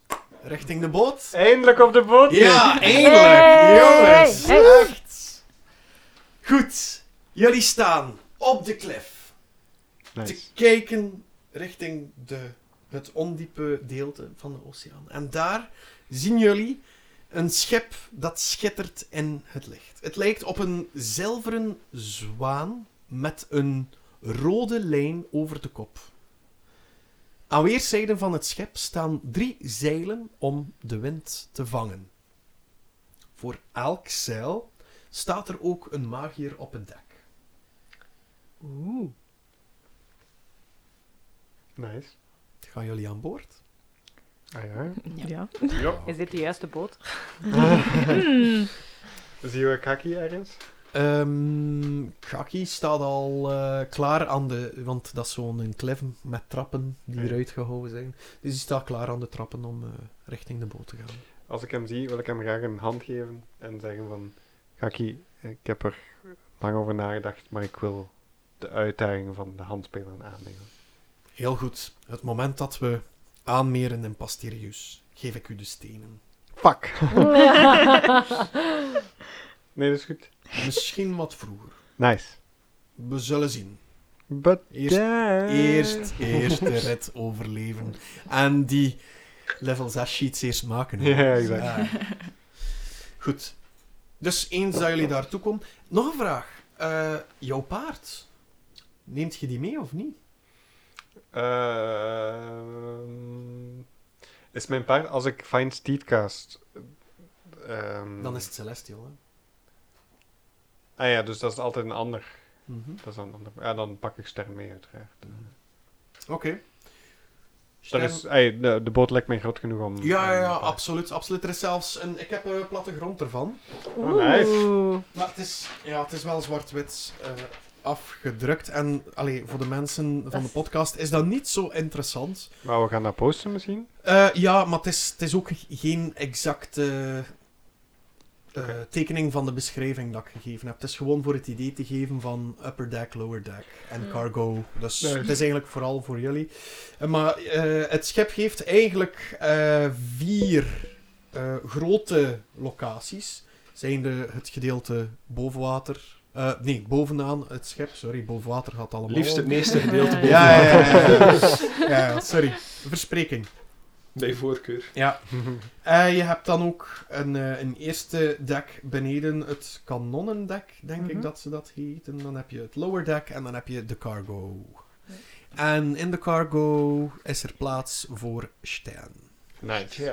Speaker 1: richting de boot.
Speaker 2: Eindelijk op de boot!
Speaker 1: Ja, eindelijk! Jongens! Echt! Goed, jullie staan op de klif te
Speaker 2: Nice.
Speaker 1: kijken richting de, het ondiepe deelte van de oceaan. En daar zien jullie een schip dat schittert in het licht. Het lijkt op een zilveren zwaan met een rode lijn over de kop. Aan weerszijden van het schip staan drie zeilen om de wind te vangen. Voor elk zeil staat er ook een magier op het dek.
Speaker 2: Nice.
Speaker 1: Gaan jullie aan boord?
Speaker 2: Ah ja.
Speaker 5: Ja.
Speaker 3: Is dit de juiste boot?
Speaker 2: Ah.
Speaker 1: Hm.
Speaker 2: Zie je Kaki ergens?
Speaker 1: Ehm Kaki staat al eh, klaar aan de... Want dat is zo'n klif met trappen die
Speaker 2: Ja.
Speaker 1: eruit gehouden zijn. Dus die staat klaar aan de trappen om eh, richting de boot te gaan.
Speaker 2: Als ik hem zie, wil ik hem graag een hand geven en zeggen van... Kaki, ik heb er lang over nagedacht, maar ik wil de uitdaging van de handspelen aannemen.
Speaker 1: Heel goed. Het moment dat we aanmeren in Pasterius, geef ik u de stenen.
Speaker 2: Fuck! nee, dat is goed.
Speaker 1: Misschien wat vroeger.
Speaker 2: Nice.
Speaker 1: We zullen zien.
Speaker 2: But
Speaker 1: Eerst,
Speaker 2: then-
Speaker 1: eerst,
Speaker 2: Eh.
Speaker 1: eerst
Speaker 2: [LAUGHS]
Speaker 1: de rit overleven. En die level 6 sheets eerst maken. hè.
Speaker 2: Ja, exact.
Speaker 1: Ja. Goed. Dus eens dat jullie daartoe komen. Nog een vraag. Eh, jouw paard. Neemt je die mee of niet?
Speaker 2: Ehm, is mijn paard, als ik Find Steed cast. ehm,
Speaker 1: Dan is het Celestial. Hè?
Speaker 2: Ah ja, dus dat is altijd een ander.
Speaker 1: Mhm.
Speaker 2: Dat is dan een ander. Ja, dan pak ik Stern mee, uiteraard.
Speaker 1: Oké.
Speaker 2: Dat
Speaker 1: Stern-
Speaker 2: is, ey, de, de boot lijkt mij groot genoeg om.
Speaker 1: Ja, ja,
Speaker 2: om-
Speaker 1: ja, absoluut, absoluut. Er is zelfs een... Ik heb een platte grond ervan.
Speaker 2: Oh, nice.
Speaker 3: Oeh.
Speaker 1: Maar het is, ja, het is wel zwart-wit eh, afgedrukt. En allee, voor de mensen van de
Speaker 3: is-
Speaker 1: podcast is dat niet zo interessant.
Speaker 2: Maar we gaan dat posten misschien.
Speaker 1: Eh, ja, maar het is, het is ook geen exacte eh, tekening van de beschrijving dat ik gegeven heb. Het is gewoon voor het idee te geven van upper deck, lower deck en cargo. Dus
Speaker 2: Nice.
Speaker 1: het is eigenlijk vooral voor jullie. Eh, maar eh, het schip heeft eigenlijk eh, vier eh, grote locaties. Zijn de, het gedeelte boven water. eh, nee, bovenaan het schip. Sorry, boven water gaat allemaal.
Speaker 4: Liefst het meeste gedeelte boven
Speaker 1: Ja, ja,
Speaker 4: water. [LAUGHS]
Speaker 1: ja, ja, ja. ja, sorry. Verspreking.
Speaker 4: Bij voorkeur.
Speaker 1: Ja. Eh, je hebt dan ook een, eh, een eerste deck beneden het kanonnendek, denk ik
Speaker 3: Mhm.
Speaker 1: dat ze dat heet. En dan heb je het lower deck en dan heb je de cargo. En in de cargo is er plaats voor Stern.
Speaker 2: Nice.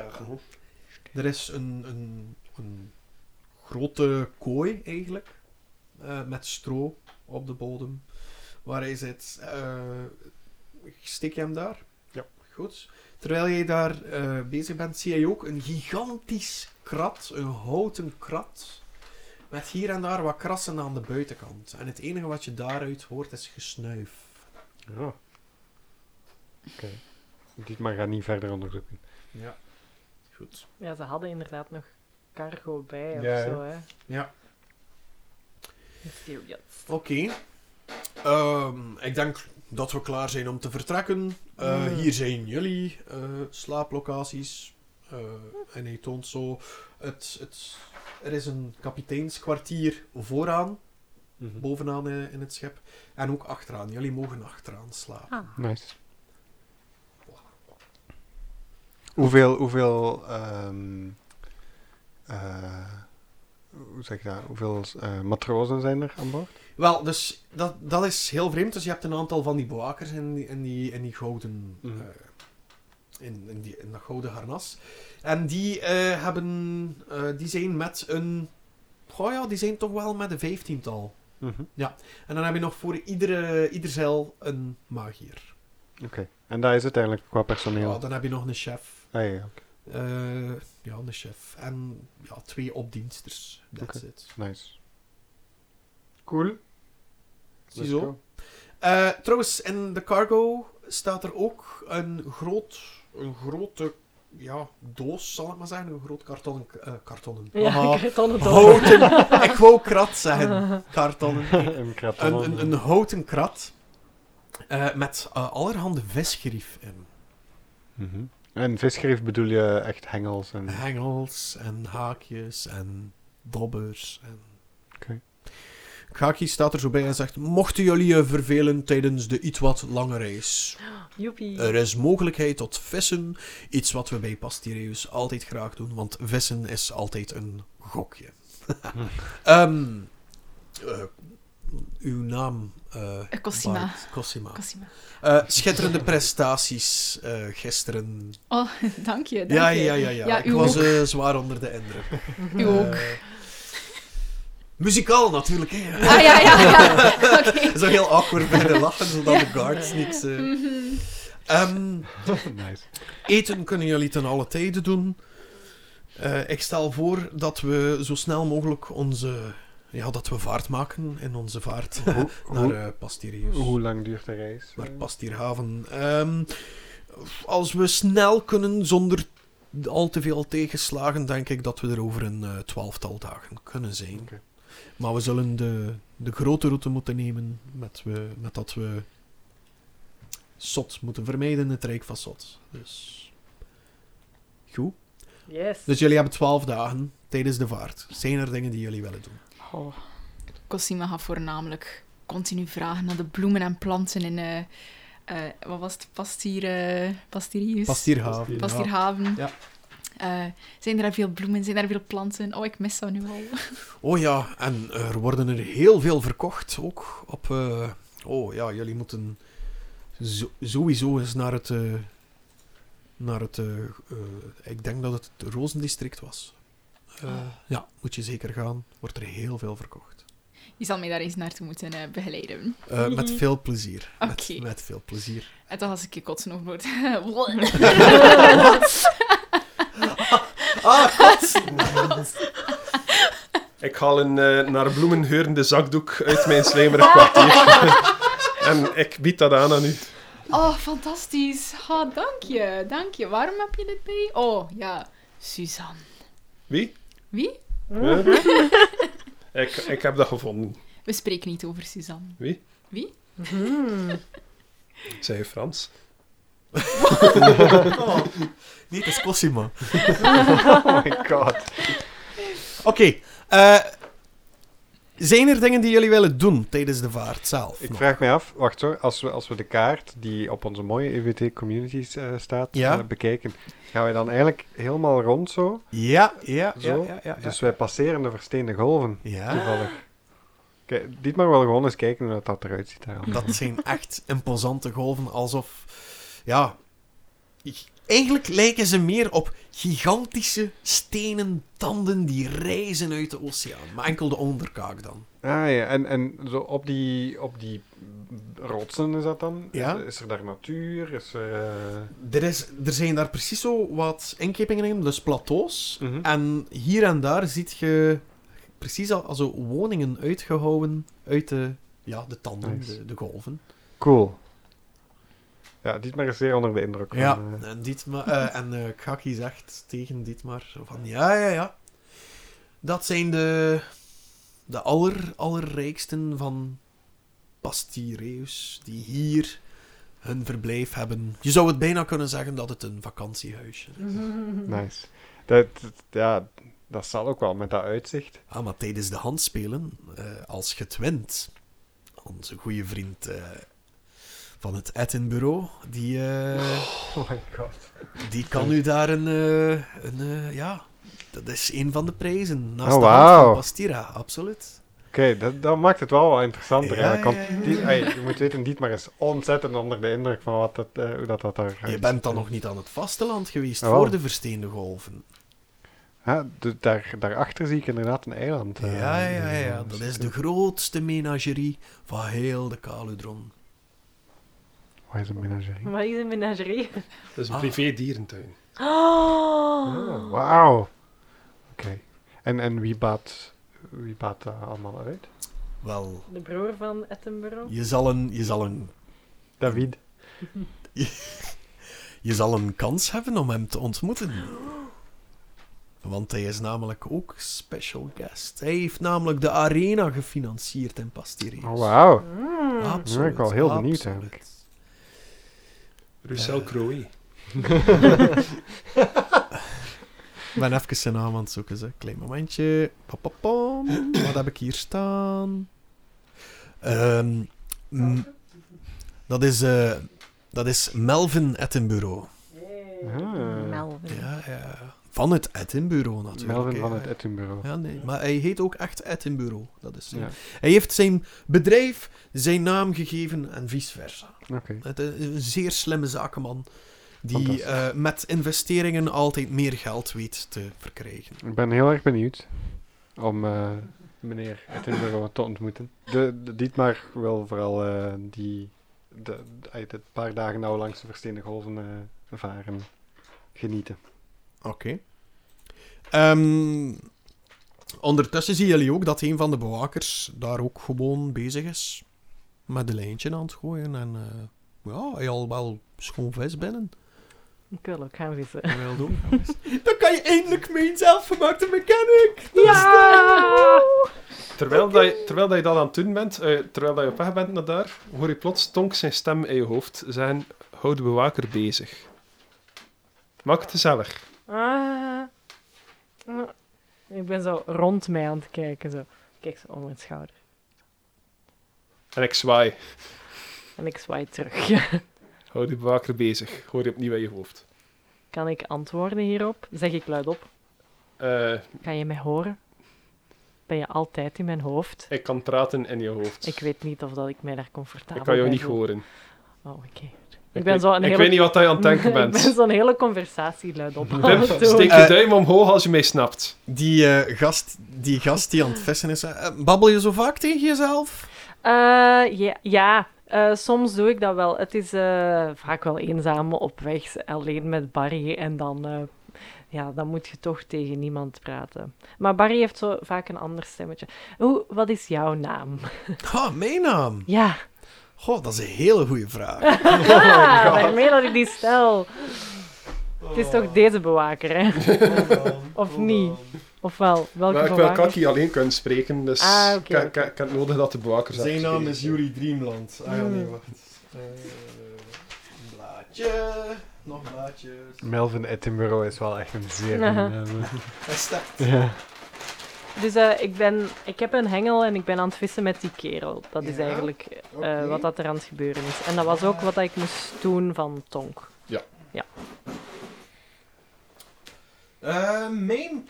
Speaker 1: Er is een, een, een grote kooi eigenlijk, eh, met stro op de bodem. Waar hij zit. Eh, steek je hem daar?
Speaker 2: Ja.
Speaker 1: Goed. Terwijl je daar eh, bezig bent, zie je ook een gigantisch krat, een houten krat, met hier en daar wat krassen aan de buitenkant. En het enige wat je daaruit hoort is gesnuif.
Speaker 2: Ja. Oké. Dietmar gaat niet verder onderzoeken.
Speaker 1: Ja. Goed.
Speaker 3: Ja, ze hadden inderdaad nog cargo bij of
Speaker 2: Ja, ja.
Speaker 3: zo, hè.
Speaker 1: Ja.
Speaker 5: Mysterious.
Speaker 1: Oké. Ehm, ik denk dat we klaar zijn om te vertrekken. Eh, Hier zijn jullie eh, slaaplocaties. Eh, en hij toont zo... Het, het, er is een kapiteinskwartier vooraan, bovenaan eh, in het schip. En ook achteraan. Jullie mogen achteraan slapen.
Speaker 2: Nice. Hoeveel, hoeveel, ehm, eh, hoe zeg ik dat? Hoeveel eh, matrozen zijn er aan boord?
Speaker 1: Wel, dus dat, dat is heel vreemd. Dus je hebt een aantal van die bewakers in die, in die, in die gouden...
Speaker 2: Mhm.
Speaker 1: eh, in, in, die, in dat gouden harnas. En die, eh, hebben, eh, die zijn met een... Goh ja, die zijn toch wel met een vijftiental. En dan heb je nog voor iedere, ieder zeil een magier.
Speaker 2: En daar is het eigenlijk qua personeel.
Speaker 1: Ja, dan heb je nog een chef.
Speaker 2: Ah, ja, oké.
Speaker 1: Eh, ja, een chef. En ja, twee opdiensters. That's
Speaker 2: Oké.
Speaker 1: it.
Speaker 2: nice. Cool.
Speaker 1: Ziezo. Eh, trouwens, in de cargo staat er ook een, groot, een grote ja, doos, zal ik maar zeggen. Een groot kartonnen... eh, kartonnen.
Speaker 3: [LAUGHS] Ja,
Speaker 1: Aha.
Speaker 3: ik heb het al het over.
Speaker 1: houten...
Speaker 3: [LAUGHS]
Speaker 1: ik wou krat zeggen. Kartonnen.
Speaker 2: [LAUGHS] een kraton.
Speaker 1: Een, een, een houten krat eh, met eh, allerhande visgerief in.
Speaker 2: Mhm. En visgerief bedoel je echt
Speaker 1: [LAUGHS]
Speaker 2: hengels en...
Speaker 1: Hengels en haakjes en dobbers. En...
Speaker 2: Oké.
Speaker 1: Kaki staat er zo bij en zegt... Mochten jullie je vervelen tijdens de iets wat lange reis...
Speaker 3: Joepie.
Speaker 1: Er is mogelijkheid tot vissen, iets wat we bij Pastireus altijd graag doen, want vissen is altijd een gokje. [LAUGHS] Ehm, eh, uw naam? eh,
Speaker 6: Eh, Cosima.
Speaker 1: Bart. Cosima.
Speaker 6: Cosima. [LAUGHS]
Speaker 1: Eh, schitterende prestaties eh, gisteren.
Speaker 6: Oh, dank je. Dank
Speaker 1: ja,
Speaker 6: je.
Speaker 1: ja, ja, ja,
Speaker 6: Ja,
Speaker 1: Ik
Speaker 6: u
Speaker 1: was
Speaker 6: ook.
Speaker 1: eh, zwaar onder de indruk.
Speaker 6: [LAUGHS] U ook.
Speaker 1: Eh, muzikaal natuurlijk, hè.
Speaker 6: Ah, ja, ja, ja.
Speaker 1: [LAUGHS]
Speaker 6: Oké.
Speaker 1: Zo heel awkward bij de lachen, zodat de guards niks... eh.
Speaker 6: Mhm.
Speaker 1: Ehm,
Speaker 2: nice.
Speaker 1: Eten kunnen jullie ten alle tijden doen. Eh, ik stel voor dat we zo snel mogelijk onze... Ja, dat we vaart maken in onze vaart
Speaker 2: Hoe,
Speaker 1: [LAUGHS] naar
Speaker 2: hoe,
Speaker 1: eh Pastirius.
Speaker 2: hoe lang duurt de reis? Oh
Speaker 1: Naar Pastierhaven. Ehm, als we snel kunnen, zonder al te veel tegenslagen, denk ik dat we er over een eh, twaalftal dagen kunnen zijn.
Speaker 2: Oké.
Speaker 1: Maar we zullen de, de grote route moeten nemen, met, we, met dat we Sot moeten vermijden, het Rijk van Sot. Dus... Goed.
Speaker 3: Yes.
Speaker 1: Dus jullie hebben twaalf dagen tijdens de vaart. Zijn er dingen die jullie willen doen?
Speaker 5: Oh.
Speaker 6: Cosima gaat voornamelijk continu vragen naar de bloemen en planten in... eh, eh, wat was het? Pastier... eh, Pastirius?
Speaker 1: Pastierhaven.
Speaker 6: Pastierhaven.
Speaker 1: Ja.
Speaker 6: Eh, zijn er daar veel bloemen? Zijn er veel planten? Oh, ik mis dat nu al.
Speaker 1: Oh ja, en er worden er heel veel verkocht ook op. eh, oh ja, jullie moeten zo- sowieso eens naar het. eh, naar het. eh, eh, ik denk dat het het Rozendistrict was. Eh, Ja, moet je zeker gaan. Wordt er heel veel verkocht.
Speaker 6: Je zal mij daar eens naartoe moeten eh, begeleiden.
Speaker 1: Eh, met veel plezier.
Speaker 6: Oké.
Speaker 1: Met, met veel plezier.
Speaker 6: En dan was ik je kotsen [LAUGHS] overboord.
Speaker 1: Ah,
Speaker 4: Ik haal een eh, naar bloemen heurende zakdoek uit mijn slijmerig kwartier. [LAUGHS] en ik bied dat aan aan u.
Speaker 6: oh, fantastisch. Ha, dank je, dank je. Waarom heb je dit bij? Oh, ja. Suzanne.
Speaker 4: Wie?
Speaker 6: Wie?
Speaker 4: Huh?
Speaker 1: [LAUGHS]
Speaker 4: ik, ik heb dat gevonden.
Speaker 6: We spreken niet over Suzanne.
Speaker 4: Zij je Frans?
Speaker 1: nee, het is Cosima. [LAUGHS]
Speaker 2: Oh my god.
Speaker 1: Oké. eh, zijn er dingen die jullie willen doen tijdens de vaart zelf?
Speaker 2: Ik
Speaker 1: nog?
Speaker 2: vraag mij af, wacht hoor, als we, als we de kaart die op onze mooie EWT Communities eh, staat
Speaker 1: Ja.
Speaker 2: eh, bekijken, gaan wij dan eigenlijk helemaal rond zo?
Speaker 1: Ja, ja, ja,
Speaker 2: Zo?
Speaker 1: ja, ja, ja.
Speaker 2: Dus wij passeren de versteende golven,
Speaker 1: ja.
Speaker 2: toevallig. Kijk, Dietmar wil gewoon eens kijken hoe dat, dat eruit ziet daar.
Speaker 1: Dat zijn echt imposante golven, alsof... Ja... ik- Eigenlijk lijken ze meer op gigantische stenen tanden die rijzen uit de oceaan. Maar enkel de onderkaak dan.
Speaker 2: Ah ja, en, en zo op die, op die rotsen is dat dan?
Speaker 1: Ja.
Speaker 2: Is, is er daar natuur? Is er... eh,
Speaker 1: Er, is, er zijn daar precies zo wat inkepingen in, dus plateaus.
Speaker 2: mhm.
Speaker 1: En hier en daar ziet je precies al, al zo woningen uitgehouwen uit de, ja, de tanden,
Speaker 2: Nice.
Speaker 1: de, de golven.
Speaker 2: Cool. Ja, Dietmar is zeer onder de indruk.
Speaker 1: Ja,
Speaker 2: Van, eh,
Speaker 1: en, Dietmar, eh, en eh, Kaki zegt tegen Dietmar zo van, ja, ja, ja. Dat zijn de, de aller, allerrijksten van Pastireus, die hier hun verblijf hebben. Je zou het bijna kunnen zeggen dat het een vakantiehuisje is.
Speaker 2: nice. Dat, dat- ja, dat zal ook wel met dat uitzicht.
Speaker 1: Ah, maar tijdens de handspelen, eh, als je het wint, onze goede vriend eh, van het Edinburgh, die, eh,
Speaker 2: Oh my god.
Speaker 1: die kan u daar een, eh, een eh, ja, dat is een van de prijzen. Naast
Speaker 2: Oh,
Speaker 1: de hand van
Speaker 2: wauw.
Speaker 1: Bastira, absoluut.
Speaker 2: Oké, dat, dat maakt het wel wat interessanter.
Speaker 1: Ja,
Speaker 2: eigenlijk,
Speaker 1: ja,
Speaker 2: want
Speaker 1: ja, ja.
Speaker 2: Die, ey, je moet weten, Dietmar is ontzettend onder de indruk van wat dat, eh, hoe dat, dat daar
Speaker 1: Je bent dan nog niet aan het vasteland geweest
Speaker 2: Ah, wel.
Speaker 1: voor de versteende golven.
Speaker 2: Ja, de- daar, daarachter zie ik inderdaad een eiland. eh,
Speaker 1: ja, ja, ja, ja.
Speaker 2: eh,
Speaker 1: Dat is de grootste menagerie van heel de Caludron.
Speaker 2: Waar is een menagerie?
Speaker 3: Maar is een menagerie.
Speaker 4: Dat is een
Speaker 1: Ah.
Speaker 4: privé dierentuin.
Speaker 2: Ah, Wauw. Oké. En, en wie baat, wie baat dat allemaal uit?
Speaker 1: Wel,
Speaker 3: De broer van Edinburgh.
Speaker 1: je zal een, je zal een
Speaker 2: David.
Speaker 1: Je zal een kans hebben om hem te ontmoeten. Want hij is namelijk ook special guest. Hij heeft namelijk de arena gefinancierd in Pastireus.
Speaker 2: Oh, wauw.
Speaker 1: Absoluut.
Speaker 2: ben ik wel heel benieuwd
Speaker 1: absoluut.
Speaker 2: eigenlijk.
Speaker 1: Eh.
Speaker 4: Russell Crowe.
Speaker 1: Ik ben even zijn naam aan het zoeken. Ze. Klein momentje. Papapam. Wat heb ik hier staan? Ehm, m- dat, is, eh, dat is Melvin Edinburgh.
Speaker 2: Ah,
Speaker 5: Melvin.
Speaker 1: Ja, ja. Van het Edinburgh natuurlijk.
Speaker 2: Melvin
Speaker 1: hè,
Speaker 2: van
Speaker 1: ja,
Speaker 2: het
Speaker 1: ja.
Speaker 2: Edinburgh.
Speaker 1: eh, Ja, nee, maar hij heet ook echt Edinburgh. Dat is zijn-
Speaker 2: Ja.
Speaker 1: Hij heeft zijn bedrijf zijn naam gegeven en vice versa.
Speaker 2: Oké.
Speaker 1: Het is een zeer slimme zakenman die
Speaker 2: Fantastisch.
Speaker 1: eh, met investeringen altijd meer geld weet te verkrijgen.
Speaker 2: Ik ben heel erg benieuwd om eh, meneer Edinburgh te ontmoeten. De, de Dietmar wil vooral eh, die de, de, uit het paar dagen nou langs de versteende golven eh, varen genieten.
Speaker 1: Oké. Ehm, ondertussen zien jullie ook dat een van de bewakers daar ook gewoon bezig is. Met de lijntje aan het gooien en eh, ja, hij al wel schoon vis binnen.
Speaker 3: Ik wil ook gaan vissen.
Speaker 1: Hij wil doen. Dan kan je eindelijk mijn zelfgemaakte mechanic!
Speaker 3: Ja!
Speaker 4: Terwijl, dat je, terwijl dat je dat aan het doen bent, eh, terwijl dat je op weg bent naar daar, hoor je plots Tonk zijn stem in je hoofd zeggen, hou de bewaker bezig. Maak het gezellig.
Speaker 3: Ah. Ik ben zo rond mij aan het kijken. Zo. Ik Kijk zo om mijn schouder.
Speaker 4: En ik zwaai.
Speaker 3: En ik zwaai terug. [LAUGHS]
Speaker 4: Hou de bewaker bezig. Hoor je opnieuw in je hoofd.
Speaker 3: kan ik antwoorden hierop? Zeg ik luidop.
Speaker 4: Eh,
Speaker 3: Kan je mij horen? Ben je altijd in mijn hoofd?
Speaker 4: ik kan praten in je hoofd.
Speaker 3: Ik weet niet of dat ik mij daar comfortabel
Speaker 4: Ik kan jou
Speaker 3: bij
Speaker 4: niet
Speaker 3: voel.
Speaker 4: horen.
Speaker 3: Oh, oké. Ik ben
Speaker 4: weet-
Speaker 3: zo een
Speaker 4: ik
Speaker 3: hele...
Speaker 4: weet niet wat dat je
Speaker 3: [LAUGHS]
Speaker 4: aan het denken
Speaker 3: ik ben
Speaker 4: bent.
Speaker 3: zo'n hele
Speaker 4: [LAUGHS]
Speaker 3: conversatie luidop aan
Speaker 4: Pip,
Speaker 3: het doen.
Speaker 4: steek je
Speaker 1: Eh.
Speaker 4: duim omhoog als je mij snapt.
Speaker 1: Die, eh, gast, die gast die aan het vissen is, eh, babbel je zo vaak tegen jezelf?
Speaker 3: Eh, ja, ja. Eh, soms doe ik dat wel. Het is eh, vaak wel eenzaam op weg, alleen met Barry. En dan, eh, ja, dan moet je toch tegen niemand praten. Maar Barry heeft zo vaak een ander stemmetje. Hoe, wat is jouw naam?
Speaker 1: Ha, mijn naam.
Speaker 3: Ja,
Speaker 1: Goh, dat is een hele goede vraag.
Speaker 3: ah, daarmee dat ik die stel. Het is toch deze bewaker, hè? Of niet? Of wel? Welke
Speaker 4: Maar ik wil
Speaker 3: bewaker?
Speaker 4: Kaki alleen kunnen spreken, dus
Speaker 3: Ah, oké,
Speaker 4: ik heb-
Speaker 3: oké.
Speaker 4: ik heb- ik heb nodig dat de bewaker zegt.
Speaker 1: Jury Dreamland.
Speaker 3: Ah ja, nee,
Speaker 1: wacht. Eh, blaadje. Nog blaadjes.
Speaker 2: Melvin Edinburgh is wel echt een zeer...
Speaker 3: Aha.
Speaker 2: aangename- [LAUGHS]
Speaker 4: Ja.
Speaker 3: Dus eh, ik, ben, ik heb een hengel en ik ben aan het vissen met die kerel. Dat is
Speaker 1: Ja,
Speaker 3: eigenlijk eh,
Speaker 1: oké.
Speaker 3: wat dat er aan het gebeuren is. En dat was ook wat dat ik moest doen van Tonk.
Speaker 1: eh, mijn...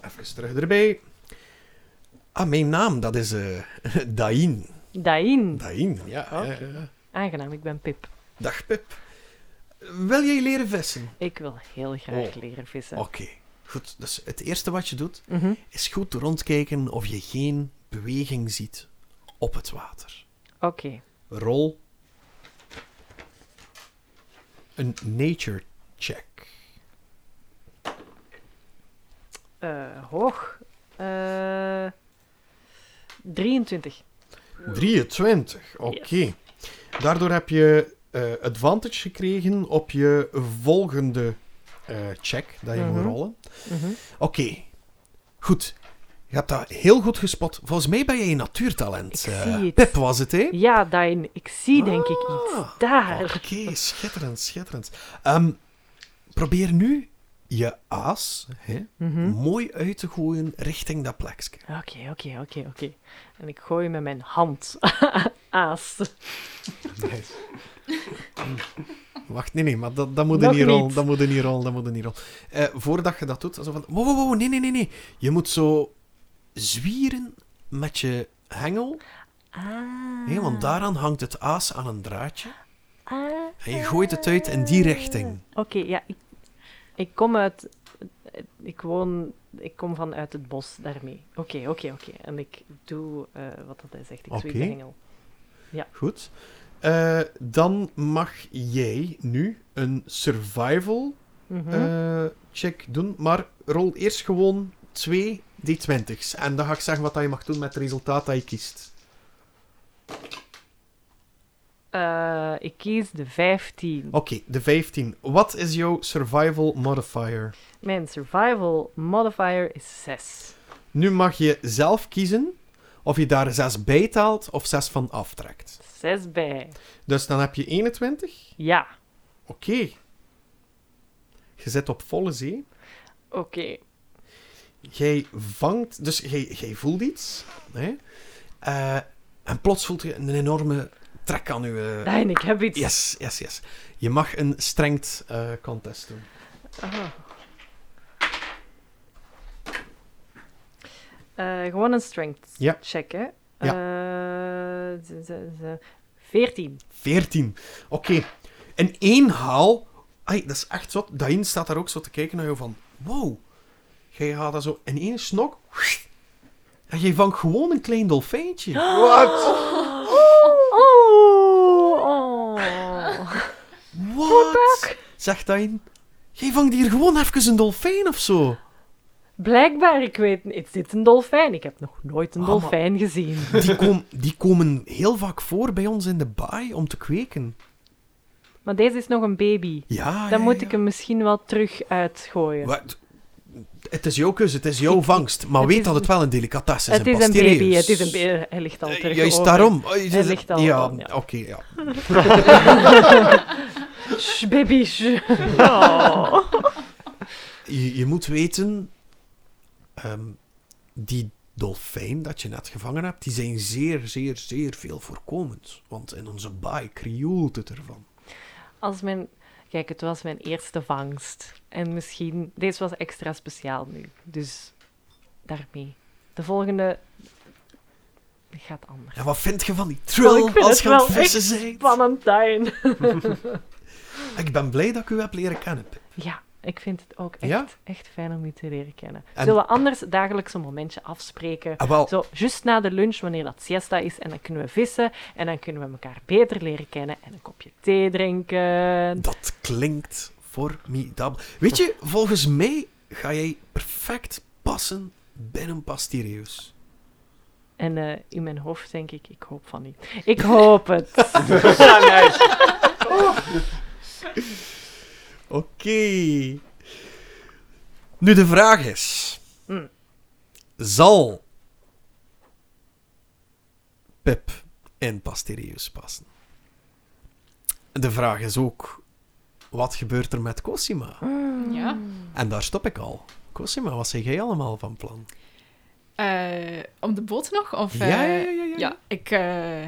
Speaker 1: Even terug erbij. Ah, mijn naam, dat is eh [LAUGHS] Dain.
Speaker 3: Dain.
Speaker 1: Dain, ja.
Speaker 4: Ah.
Speaker 1: ja,
Speaker 3: Oké.
Speaker 1: ja.
Speaker 3: Aangenaam, ik ben Pip.
Speaker 1: Dag, Pip. Wil jij leren vissen?
Speaker 3: Ik wil heel graag
Speaker 1: Oh.
Speaker 3: leren vissen.
Speaker 1: Oké, goed. Dus het eerste wat je doet,
Speaker 3: Mhm.
Speaker 1: is goed rondkijken of je geen beweging ziet op het water.
Speaker 3: Oké.
Speaker 1: Rol. Een nature check.
Speaker 3: Eh, hoog. Eh, 23.
Speaker 1: 23, oké. Daardoor heb je eh, advantage gekregen op je volgende eh, check dat je
Speaker 3: Mhm.
Speaker 1: moet rollen.
Speaker 3: Mhm.
Speaker 1: Oké, goed. Je hebt dat heel goed gespot. Volgens mij ben jij een natuurtalent.
Speaker 3: Ik
Speaker 1: eh,
Speaker 3: zie het.
Speaker 1: Pip was het, hè?
Speaker 3: Ja, Dine, ik zie denk ik
Speaker 1: Ah.
Speaker 3: iets. Daar.
Speaker 1: Oké,
Speaker 3: [LAUGHS]
Speaker 1: schitterend, schitterend. Ehm, probeer nu je aas hè,
Speaker 3: Mhm.
Speaker 1: mooi uit te gooien richting dat plekje.
Speaker 3: Oké, oké, oké, oké. En ik gooi met mijn hand. [LAUGHS] Aas.
Speaker 1: Wacht, nee, nee, maar dat, dat moet je
Speaker 3: Nog
Speaker 1: niet rollen,
Speaker 3: niet.
Speaker 1: dat moet je niet rollen, dat moet je niet rollen. Eh, voordat je dat doet, zo van, wow, wow, wow, nee, nee, nee, nee. Je moet zo zwieren met je hengel,
Speaker 3: Ah.
Speaker 1: hè, want daaraan hangt het aas aan een draadje.
Speaker 3: Ah.
Speaker 1: En je gooit het uit in die richting.
Speaker 3: Oké, ja. Ik, ik kom uit... Ik woon... Ik kom vanuit het bos daarmee. Oké, oké, oké. En ik doe eh, wat dat hij zegt. Ik zweef
Speaker 1: Oké.
Speaker 3: de hengel.
Speaker 1: Goed. Eh, dan mag jij nu een survival
Speaker 3: Mhm.
Speaker 1: eh, check doen, maar rol eerst gewoon twee D20's. En dan ga ik zeggen wat dat je mag doen met het resultaat dat je kiest.
Speaker 3: Eh, ik kies de 15.
Speaker 1: Oké, de 15. Wat is jouw survival modifier?
Speaker 3: Mijn survival modifier is 6.
Speaker 1: Nu mag je zelf kiezen of je daar 6 bij taalt of 6 van aftrekt.
Speaker 3: 6 bij.
Speaker 1: Dus dan heb je 21.
Speaker 3: Ja.
Speaker 1: Oké. Je zit op volle zee.
Speaker 3: Oké.
Speaker 1: Jij vangt... Dus jij, jij voelt iets. Hè? Eh, en plots voelt je een enorme trek aan je...
Speaker 3: Dijn, ik heb iets.
Speaker 1: Yes, yes, yes. Je mag een strength eh, contest doen.
Speaker 3: Ah. Eh, gewoon een strength
Speaker 1: Ja.
Speaker 3: check, hè? Eh, z- z- z- 14.
Speaker 1: 14. Oké. In één haal... Ai, dat is echt zo. Daarin staat daar ook zo te kijken naar jou van... Wow. Jij gaat dat zo in één snok... En jij vangt gewoon een klein
Speaker 3: [GASPS]
Speaker 1: dolfijntje.
Speaker 2: Wat?
Speaker 3: Oh! oh.
Speaker 1: Wat? Zegt Dain. Jij vangt hier gewoon even een dolfijn of zo.
Speaker 3: Blijkbaar, ik weet niet. Is dit een dolfijn? Ik heb nog nooit een
Speaker 1: Ah, maar-
Speaker 3: dolfijn gezien.
Speaker 1: Die, kom, die komen heel vaak voor bij ons in de baai om te kweken.
Speaker 3: Maar deze is nog een baby.
Speaker 1: Ja,
Speaker 3: Dan
Speaker 1: Ah, ja,
Speaker 3: moet
Speaker 1: ja.
Speaker 3: ik hem misschien wel terug uitgooien.
Speaker 1: Wat? Het is jouw keuze, het is jouw vangst. Maar
Speaker 3: het
Speaker 1: weet
Speaker 3: is
Speaker 1: dat het
Speaker 3: een-
Speaker 1: wel een delicatesse is.
Speaker 3: het is een baby, het is een baby. Hij ligt al
Speaker 1: Eh,
Speaker 3: terug.
Speaker 1: Juist
Speaker 3: over.
Speaker 1: daarom. Oh, je-
Speaker 3: ligt al
Speaker 1: ja,
Speaker 3: om, ja.
Speaker 1: oké, ja.
Speaker 3: Shh, baby, shh.
Speaker 1: Oh. Je, je moet weten, ehm, die dolfijn dat je net gevangen hebt, die zijn zeer, zeer, zeer veel voorkomend. Want in onze baai krioelt het ervan.
Speaker 3: Als mijn... Kijk, het was mijn eerste vangst. En misschien... Deze was extra speciaal nu. Dus daarmee. De volgende gaat anders.
Speaker 1: En wat vind je van die
Speaker 3: Wel,
Speaker 1: trill
Speaker 3: ik vind
Speaker 1: als
Speaker 3: het
Speaker 1: je aan het
Speaker 3: wel echt
Speaker 1: vissen bent?
Speaker 3: Spannend, Dijn.
Speaker 1: Ik ben blij dat ik u heb leren kennen. Pip.
Speaker 3: Ja, ik vind het ook echt,
Speaker 1: Ja?
Speaker 3: echt fijn om u te leren kennen.
Speaker 1: En-
Speaker 3: Zullen we anders dagelijks een momentje afspreken?
Speaker 1: Ah, wel,
Speaker 3: Zo, just na de lunch, wanneer dat siesta is. En dan kunnen we vissen. En dan kunnen we elkaar beter leren kennen. En een kopje thee drinken.
Speaker 1: dat klinkt formidabel. Weet je, volgens mij ga jij perfect passen binnen Pastireus.
Speaker 3: En eh, in mijn hoofd denk ik, ik hoop van niet. Ik hoop het.
Speaker 1: Oké. Nu de vraag is:
Speaker 3: Mm.
Speaker 1: zal Pip in Pastereus passen? De vraag is ook: wat gebeurt er met Cosima?
Speaker 6: Ja.
Speaker 1: En daar stop ik al. Cosima, wat zeg jij allemaal van plan?
Speaker 6: Eh, om de boot nog? Of,
Speaker 1: Ja,
Speaker 6: eh,
Speaker 1: ja, ja, ja, ja.
Speaker 6: ja, ik, eh,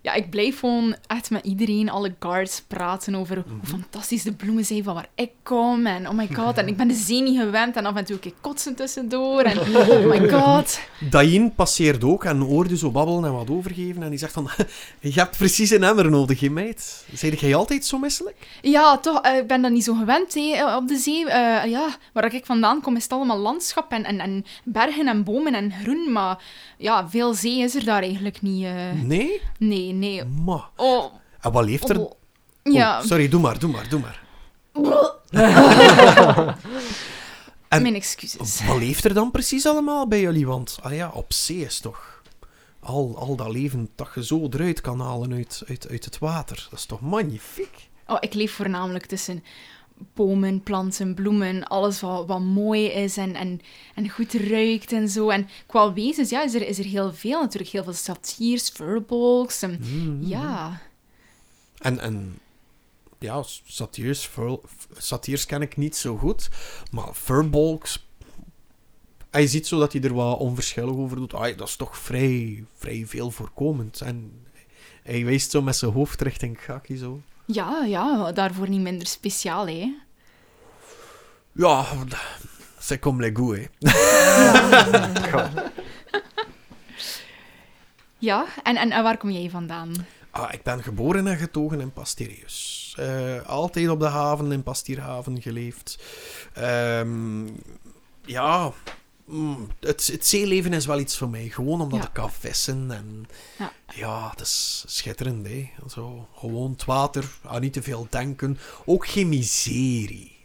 Speaker 6: ja, ik blijf gewoon echt met iedereen, alle guards, praten over
Speaker 1: Mhm.
Speaker 6: hoe fantastisch de bloemen zijn van waar ik kom. En oh my god, en ik ben de zee niet gewend. En af en toe kijk ik kotsen tussendoor.
Speaker 1: [LAUGHS]
Speaker 6: En oh my god.
Speaker 1: Dain passeert ook en hoorde zo babbelen en wat overgeven. En die zegt van, [LAUGHS] je hebt precies een emmer nodig, hè, meid. Zeg jij altijd zo misselijk?
Speaker 6: Ja, toch, eh, ik ben dat niet zo gewend hè, op de zee. Eh, ja, waar ik vandaan kom is het allemaal landschap en, en, en bergen en bomen en groen. Maar ja, veel zee is er daar eigenlijk niet. eh.
Speaker 1: Nee?
Speaker 6: Nee, nee, nee.
Speaker 1: Ma.
Speaker 6: Oh,
Speaker 1: En wat leeft er? Oh,
Speaker 6: oh. Ja.
Speaker 1: sorry, doe maar, doe maar, doe maar.
Speaker 6: [LAUGHS]
Speaker 1: En-
Speaker 6: Mijn excuses.
Speaker 1: Wat leeft er dan precies allemaal bij jullie? Want ah ja, op zee is toch al, al dat leven dat je zo eruit kan halen uit, uit, uit het water. Dat is toch magnifiek?
Speaker 6: Oh, ik leef voornamelijk tussen bomen, planten, bloemen, alles wat, wat mooi is en, en, en goed ruikt en zo. En qua wezens, ja, is er, is er heel veel natuurlijk. Heel veel satiers, furbolgs. en-
Speaker 1: Mm-hmm.
Speaker 6: Ja.
Speaker 1: En, en ja, s- satiers, fur- f- satiers ken ik niet zo goed, maar furbolgs... Hij ziet zo dat hij er wat onverschillig over doet. Ah, dat is toch vrij, vrij veel voorkomend. En hij wijst zo met zijn hoofd richting Gaki zo.
Speaker 6: Ja, ja, daarvoor niet minder speciaal, hè.
Speaker 1: Ja, c'est comme les goûts, hè.
Speaker 6: Ja, en, en, en waar kom jij vandaan?
Speaker 1: Ah, ik ben geboren en getogen in Pastirius. Eh, altijd op de haven, in Pastierhaven geleefd. Ehm, ja, mm, het, het zeeleven is wel iets voor mij. Gewoon omdat
Speaker 6: Ja.
Speaker 1: ik kan vissen. En,
Speaker 6: Ja.
Speaker 1: ja. het is schitterend. Hè? Zo, gewoon het water, aan niet te veel denken. Ook geen miserie.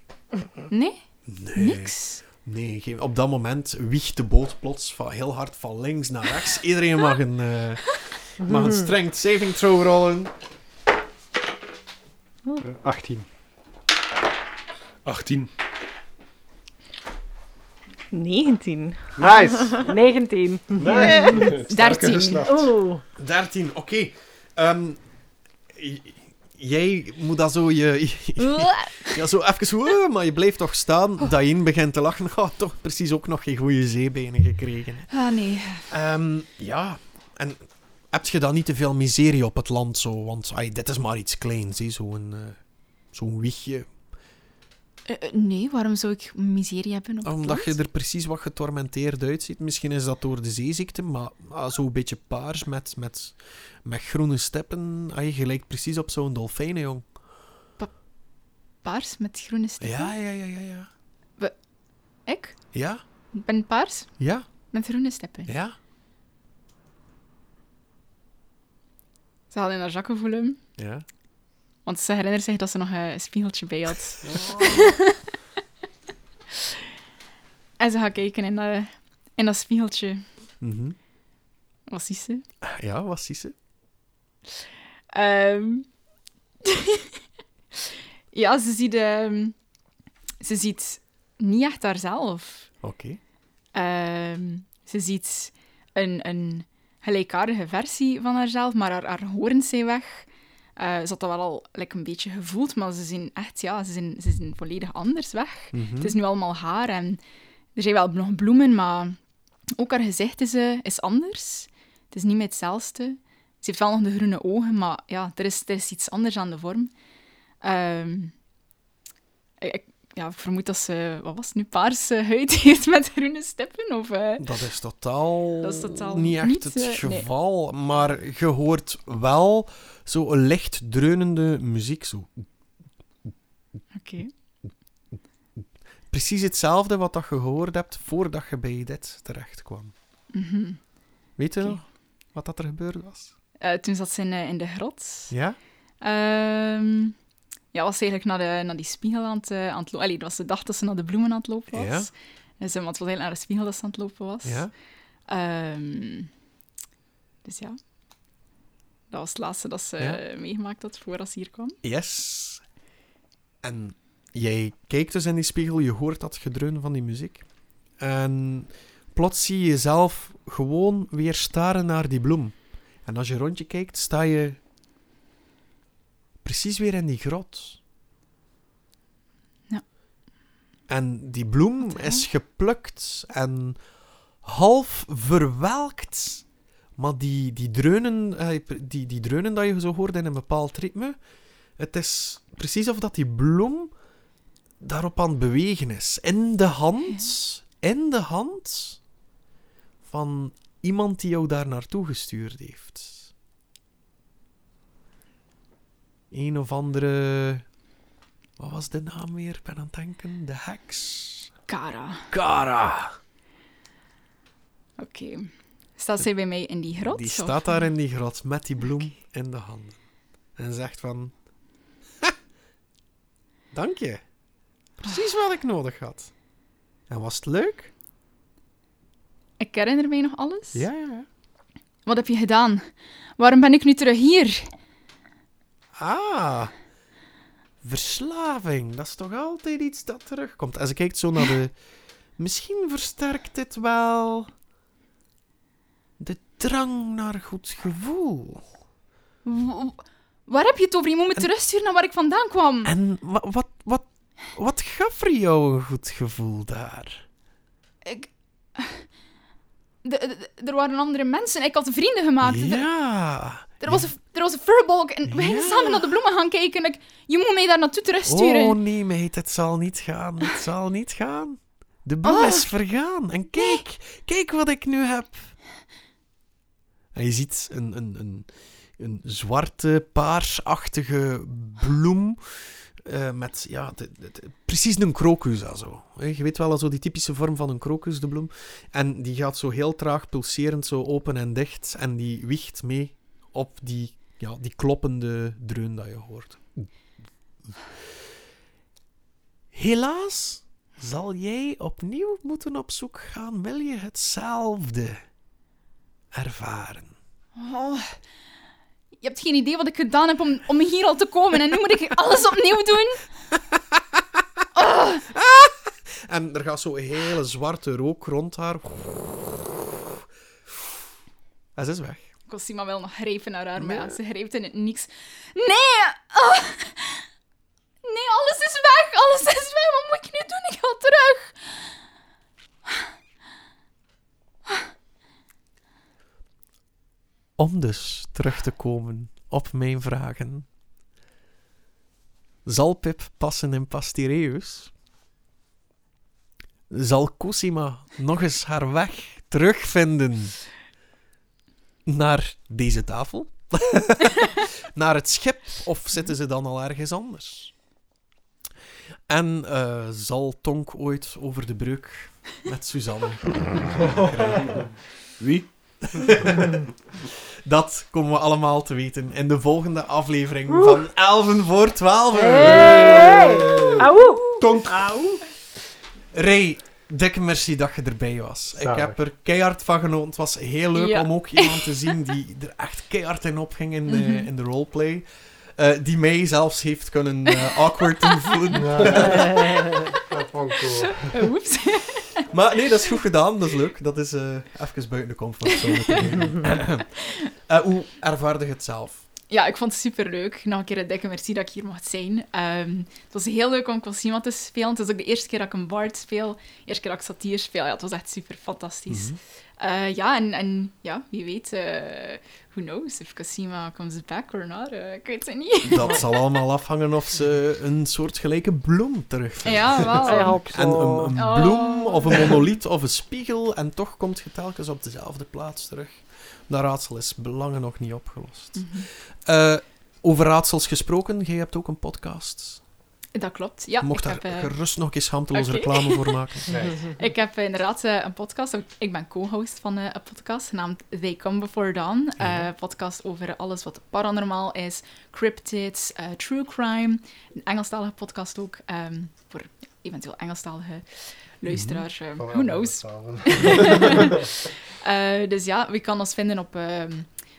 Speaker 6: Nee?
Speaker 1: Nee.
Speaker 6: Niks?
Speaker 1: Nee, geen- op dat moment wiegt de boot plots van heel hard van links naar rechts. Iedereen mag een, eh mag
Speaker 6: [LAUGHS]
Speaker 1: een strength saving throw rollen.
Speaker 2: 18.
Speaker 4: 18.
Speaker 5: 19.
Speaker 2: Nice!
Speaker 3: 19.
Speaker 4: [LAUGHS]
Speaker 6: Dertien.
Speaker 3: Oeh.
Speaker 1: 13, oké. Ehm, j- jij moet dat zo je... [LAUGHS] Ja, zo even... "Wow," Maar je blijft toch staan. Dain begint te lachen. [LAUGHS] Oh, toch precies ook nog geen goede zeebenen gekregen. hè.
Speaker 6: Ah, nee.
Speaker 1: Ehm, ja, en heb je dan niet te veel miserie op het land zo? Want ai, dit is maar iets kleins, hè, zo'n... eh, Zo'n wiegje.
Speaker 6: Eh, eh, nee, waarom zou ik miserie hebben op het
Speaker 1: Omdat je
Speaker 6: land?
Speaker 1: er precies wat getormenteerd uitziet. Misschien is dat door de zeeziekte, maar ah, zo'n beetje paars met, met, met groene steppen. Ah, je lijkt precies op zo'n dolfijn, hè, jong.
Speaker 6: Paars met groene stippen?
Speaker 1: Ja, ja, ja, ja, ja.
Speaker 6: Ik?
Speaker 1: Ja,
Speaker 6: Ik ben paars
Speaker 1: ja,
Speaker 6: met groene stippen.
Speaker 1: ja.
Speaker 6: Ze had in haar zakken voelen.
Speaker 1: ja.
Speaker 6: Want ze herinnert zich dat ze nog eh, een spiegeltje bij had.
Speaker 1: Oh.
Speaker 6: [LAUGHS] en ze gaat kijken in dat, in dat spiegeltje. Wat ziet ze?
Speaker 1: Mhm. Ja, wat is ze?
Speaker 6: Ehm. [LAUGHS] ja, ze ziet, ehm, ze ziet niet echt haarzelf.
Speaker 1: Oké.
Speaker 6: Ehm, ze ziet een, een gelijkaardige versie van haarzelf, maar haar, haar horens zijn weg. Eh, ze had dat wel al like, een beetje gevoeld, maar ze zijn echt, ja, ze zijn, ze zijn volledig anders weg. Het is nu allemaal haar en er zijn wel nog bloemen, maar ook haar gezicht is, eh, is anders. Het is niet meer hetzelfde. Ze heeft wel nog de groene ogen, maar ja, er is, er is iets anders aan de vorm. Ehm, ik, ik- ja, ik vermoed dat ze, wat was het nu, paarse huid [LAUGHS] heeft met groene stippen? Of, eh,
Speaker 1: Dat is totaal,
Speaker 6: Dat is totaal
Speaker 1: niet echt
Speaker 6: niet,
Speaker 1: het
Speaker 6: eh, nee.
Speaker 1: geval. Maar je hoort wel zo'n licht dreunende muziek. Zo.
Speaker 6: Oké.
Speaker 1: Precies hetzelfde wat dat je gehoord hebt voordat je bij dit terecht kwam.
Speaker 6: Mhm.
Speaker 1: Weet je
Speaker 6: Oké.
Speaker 1: nog wat dat er gebeurd was?
Speaker 6: Eh, toen zat ze in, eh, in de grot.
Speaker 1: Ja?
Speaker 6: Ehm, ja, was ze eigenlijk naar, de, naar die spiegel aan het, eh, aan het lopen. Allee, het was de dag dat ze naar de bloemen aan het lopen was.
Speaker 1: Ja.
Speaker 6: Dus, eh, want het was eigenlijk naar de spiegel dat ze aan het lopen was.
Speaker 1: Ja?
Speaker 6: Ehm, dus ja. Dat was het laatste dat ze
Speaker 1: Ja.
Speaker 6: eh, meegemaakt had voordat ze hier kwam.
Speaker 1: Yes. En jij kijkt dus in die spiegel, je hoort dat gedreun van die muziek. En plots zie je jezelf gewoon weer staren naar die bloem. En als je rondje kijkt, sta je precies weer in die grot.
Speaker 6: Ja.
Speaker 1: En die bloem
Speaker 6: Wat raar.
Speaker 1: is geplukt en half verwelkt. Maar die, die, dreunen, eh, die, die dreunen dat je zo hoort in een bepaald ritme, het is precies of dat die bloem daarop aan het bewegen is. In de hand, in de hand van iemand die jou daar naartoe gestuurd heeft. Een of andere. Wat was de naam weer? Ik ben aan het denken. De heks.
Speaker 6: Kara.
Speaker 1: Kara.
Speaker 6: Oké. Staat zij bij mij in die grot?
Speaker 1: Die
Speaker 6: of-
Speaker 1: staat daar in die grot met die bloem in de handen. En zegt van... "Ha, dank je. Precies wat ik nodig had. En was het leuk?
Speaker 6: Ik herinner mij nog alles.
Speaker 1: Ja, ja, ja.
Speaker 6: Wat heb je gedaan? Waarom ben ik nu terug hier?
Speaker 1: Ah. Verslaving. Dat is toch altijd iets dat terugkomt. En ze kijkt zo naar de... Misschien versterkt dit wel... De drang naar goed gevoel.
Speaker 6: W- w- Waar heb je het over? Je moet me terugsturen naar waar ik vandaan kwam.
Speaker 1: En wa- wat, wat, wat gaf er jou een goed gevoel daar?
Speaker 6: Ik... [LAUGHS] De- de- er waren andere mensen. Ik had vrienden gemaakt. Er,
Speaker 1: Ja.
Speaker 6: er was een, er was een furbolk en we gingen
Speaker 1: Ja.
Speaker 6: samen naar de bloemen gaan kijken. Ik, je moet mij daar naartoe terugsturen.
Speaker 1: Oh nee, meid, het zal niet gaan. Het zal niet gaan. De bloem
Speaker 6: Oh.
Speaker 1: is vergaan. En kijk, kijk wat ik nu heb. En je ziet een, een, een, een zwarte, paarsachtige bloem. eh, met, ja, de- de- de- precies een krokus, ah, zo. Eh, Je weet wel, zo die typische vorm van een krokus, de bloem. En die gaat zo heel traag pulserend, zo open en dicht. En die wiegt mee op die, ja, die kloppende dreun dat je hoort. Helaas zal jij opnieuw moeten op zoek gaan, wil je hetzelfde ervaren.
Speaker 6: Oh, je hebt geen idee wat ik gedaan heb om, om hier al te komen. En nu moet ik alles opnieuw doen.
Speaker 1: En er gaat zo'n hele zwarte rook rond haar. En ze is weg.
Speaker 6: Ik kon Sima wel nog grijpen naar haar, maar ja,
Speaker 1: Nee.
Speaker 6: ze grijpt in het niks. Nee! Ah. Nee, alles is weg! Alles is weg! Wat moet ik nu doen? Ik ga terug!
Speaker 1: Om dus terug te komen op mijn vragen. Zal Pip passen in Pastireus? Zal Cosima nog eens haar weg terugvinden naar deze tafel? [LAUGHS] naar het schip? Of zitten ze dan al ergens anders? En eh, zal Tonk ooit over de breuk met Suzanne?
Speaker 8: Wie?
Speaker 1: [LAUGHS] Dat komen we allemaal te weten in de volgende aflevering van Elven voor 12.
Speaker 3: Hey! Auw!
Speaker 4: Tonk.
Speaker 1: Ray, dikke merci dat je erbij was. Ik
Speaker 2: Zalig.
Speaker 1: heb er keihard van genoten. Het was heel leuk
Speaker 6: Ja.
Speaker 1: om ook iemand te zien
Speaker 6: [LAUGHS]
Speaker 1: die er echt keihard in opging in de,
Speaker 6: Mhm.
Speaker 1: in de roleplay. Eh, die mij zelfs heeft kunnen eh, awkward
Speaker 6: [LAUGHS]
Speaker 1: doen voelen.
Speaker 3: Eh,
Speaker 2: Dat vond ik cool.
Speaker 6: Eh, Oeps.
Speaker 1: Maar nee, dat is goed gedaan. Dat is leuk. Dat is eh, even buiten de comfortzone. te doen. Eh, hoe ervaarde je het zelf?
Speaker 6: Ja, ik vond het superleuk. Nog een keer een dikke merci dat ik hier mocht zijn. Ehm, het was heel leuk om Cosima te spelen. Het is ook de eerste keer dat ik een bard speel. De eerste keer dat ik satir speel. Ja, het was echt super fantastisch.
Speaker 1: Mhm.
Speaker 6: Eh, ja, en, en ja, wie weet, eh, who knows if Cosima comes back or not. eh, ik weet het niet. [LAUGHS]
Speaker 1: Dat zal allemaal afhangen of ze een soortgelijke bloem terugvindt.
Speaker 6: Ja,
Speaker 3: Ik
Speaker 6: wel.
Speaker 3: hoop zo.
Speaker 1: En een, een
Speaker 6: Oh.
Speaker 1: bloem of een monoliet of een spiegel. En toch komt je telkens op dezelfde plaats terug. Dat raadsel is belangen nog niet opgelost.
Speaker 6: Mhm.
Speaker 1: Eh, over raadsels gesproken, jij hebt ook een podcast.
Speaker 6: Dat klopt. Ja,
Speaker 1: Mocht
Speaker 6: ik
Speaker 1: daar
Speaker 6: heb, eh,
Speaker 1: gerust nog eens hamteloos
Speaker 6: oké.
Speaker 1: reclame voor
Speaker 6: [LAUGHS]
Speaker 1: maken.
Speaker 6: Ik heb inderdaad eh, een podcast. Ook- Ik ben co-host van eh, een podcast genaamd They Come Before Dawn. Eh,
Speaker 1: Ja.
Speaker 6: podcast over alles wat paranormaal is, cryptids, eh, true crime. Een Engelstalige podcast ook ehm, voor ja, eventueel Engelstalige luisteraars. eh,
Speaker 2: Van
Speaker 6: who
Speaker 2: [LAUGHS]
Speaker 6: knows? [LAUGHS]
Speaker 2: Elven.
Speaker 6: Eh, dus ja, we kan ons vinden op ehm,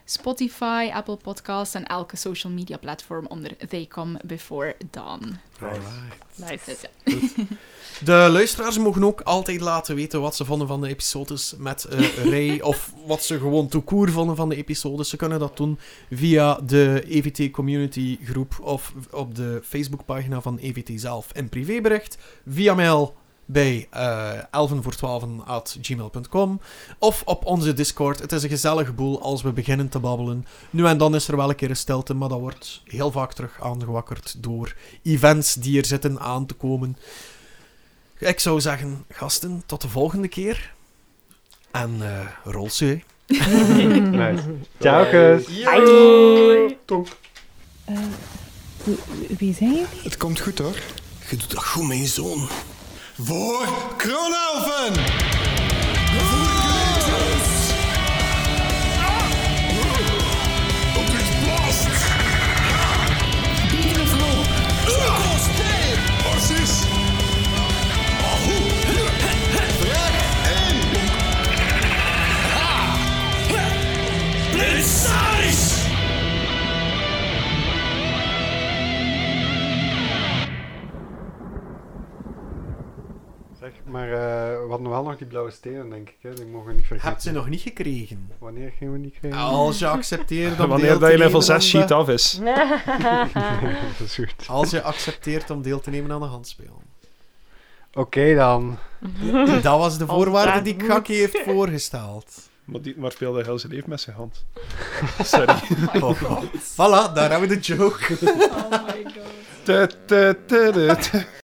Speaker 6: Spotify, Apple Podcasts en elke social media platform onder They Come Before Dawn.
Speaker 1: Mm-hmm. Alright.
Speaker 6: Dus
Speaker 3: Nice.
Speaker 6: ja.
Speaker 1: De luisteraars mogen ook altijd laten weten wat ze vonden van de episodes met eh Ray. of wat ze gewoon tout court vonden van de episodes. Ze kunnen dat doen via de EVT Community groep of op de Facebookpagina van EVT zelf in privébericht. Via mail bij eh 11 voor 12 at gmail.com of op onze Discord. Het is een gezellig boel als we beginnen te babbelen. Nu en dan is er wel een keer een stilte, maar dat wordt heel vaak terug aangewakkerd door events die er zitten aan te komen. Ik zou zeggen, gasten, tot de volgende keer. En eh rol ze.
Speaker 2: Nice. Ciao, kus.
Speaker 9: Wie zijn jullie?
Speaker 7: Het komt goed hoor.
Speaker 1: Je doet dat goed, mijn zoon.
Speaker 7: Voor Kronelven! Voor Kronelven!
Speaker 2: Zeg, maar eh, we hadden wel nog die blauwe stenen, denk ik. Hè? Die mogen we niet vergeten.
Speaker 1: Hebt ze nog niet gekregen?
Speaker 2: Wanneer gingen we die krijgen?
Speaker 1: Als je accepteert om deel
Speaker 4: Wanneer
Speaker 1: te
Speaker 4: dat je
Speaker 1: nemen
Speaker 4: level
Speaker 1: aan
Speaker 4: 6
Speaker 1: de-
Speaker 4: sheet af is.
Speaker 2: dat is goed.
Speaker 1: Als je accepteert om deel te nemen aan de handspel.
Speaker 2: Oké dan.
Speaker 1: Dat was de voorwaarde
Speaker 3: daar
Speaker 1: die
Speaker 3: moet.
Speaker 1: Kaki heeft voorgesteld.
Speaker 4: Maar, die, maar speelde heel zijn leven met zijn hand. Sorry.
Speaker 1: Oh, Voilà, daar hebben we de joke.
Speaker 6: Oh my god.
Speaker 4: Tut, tut, tut, tut.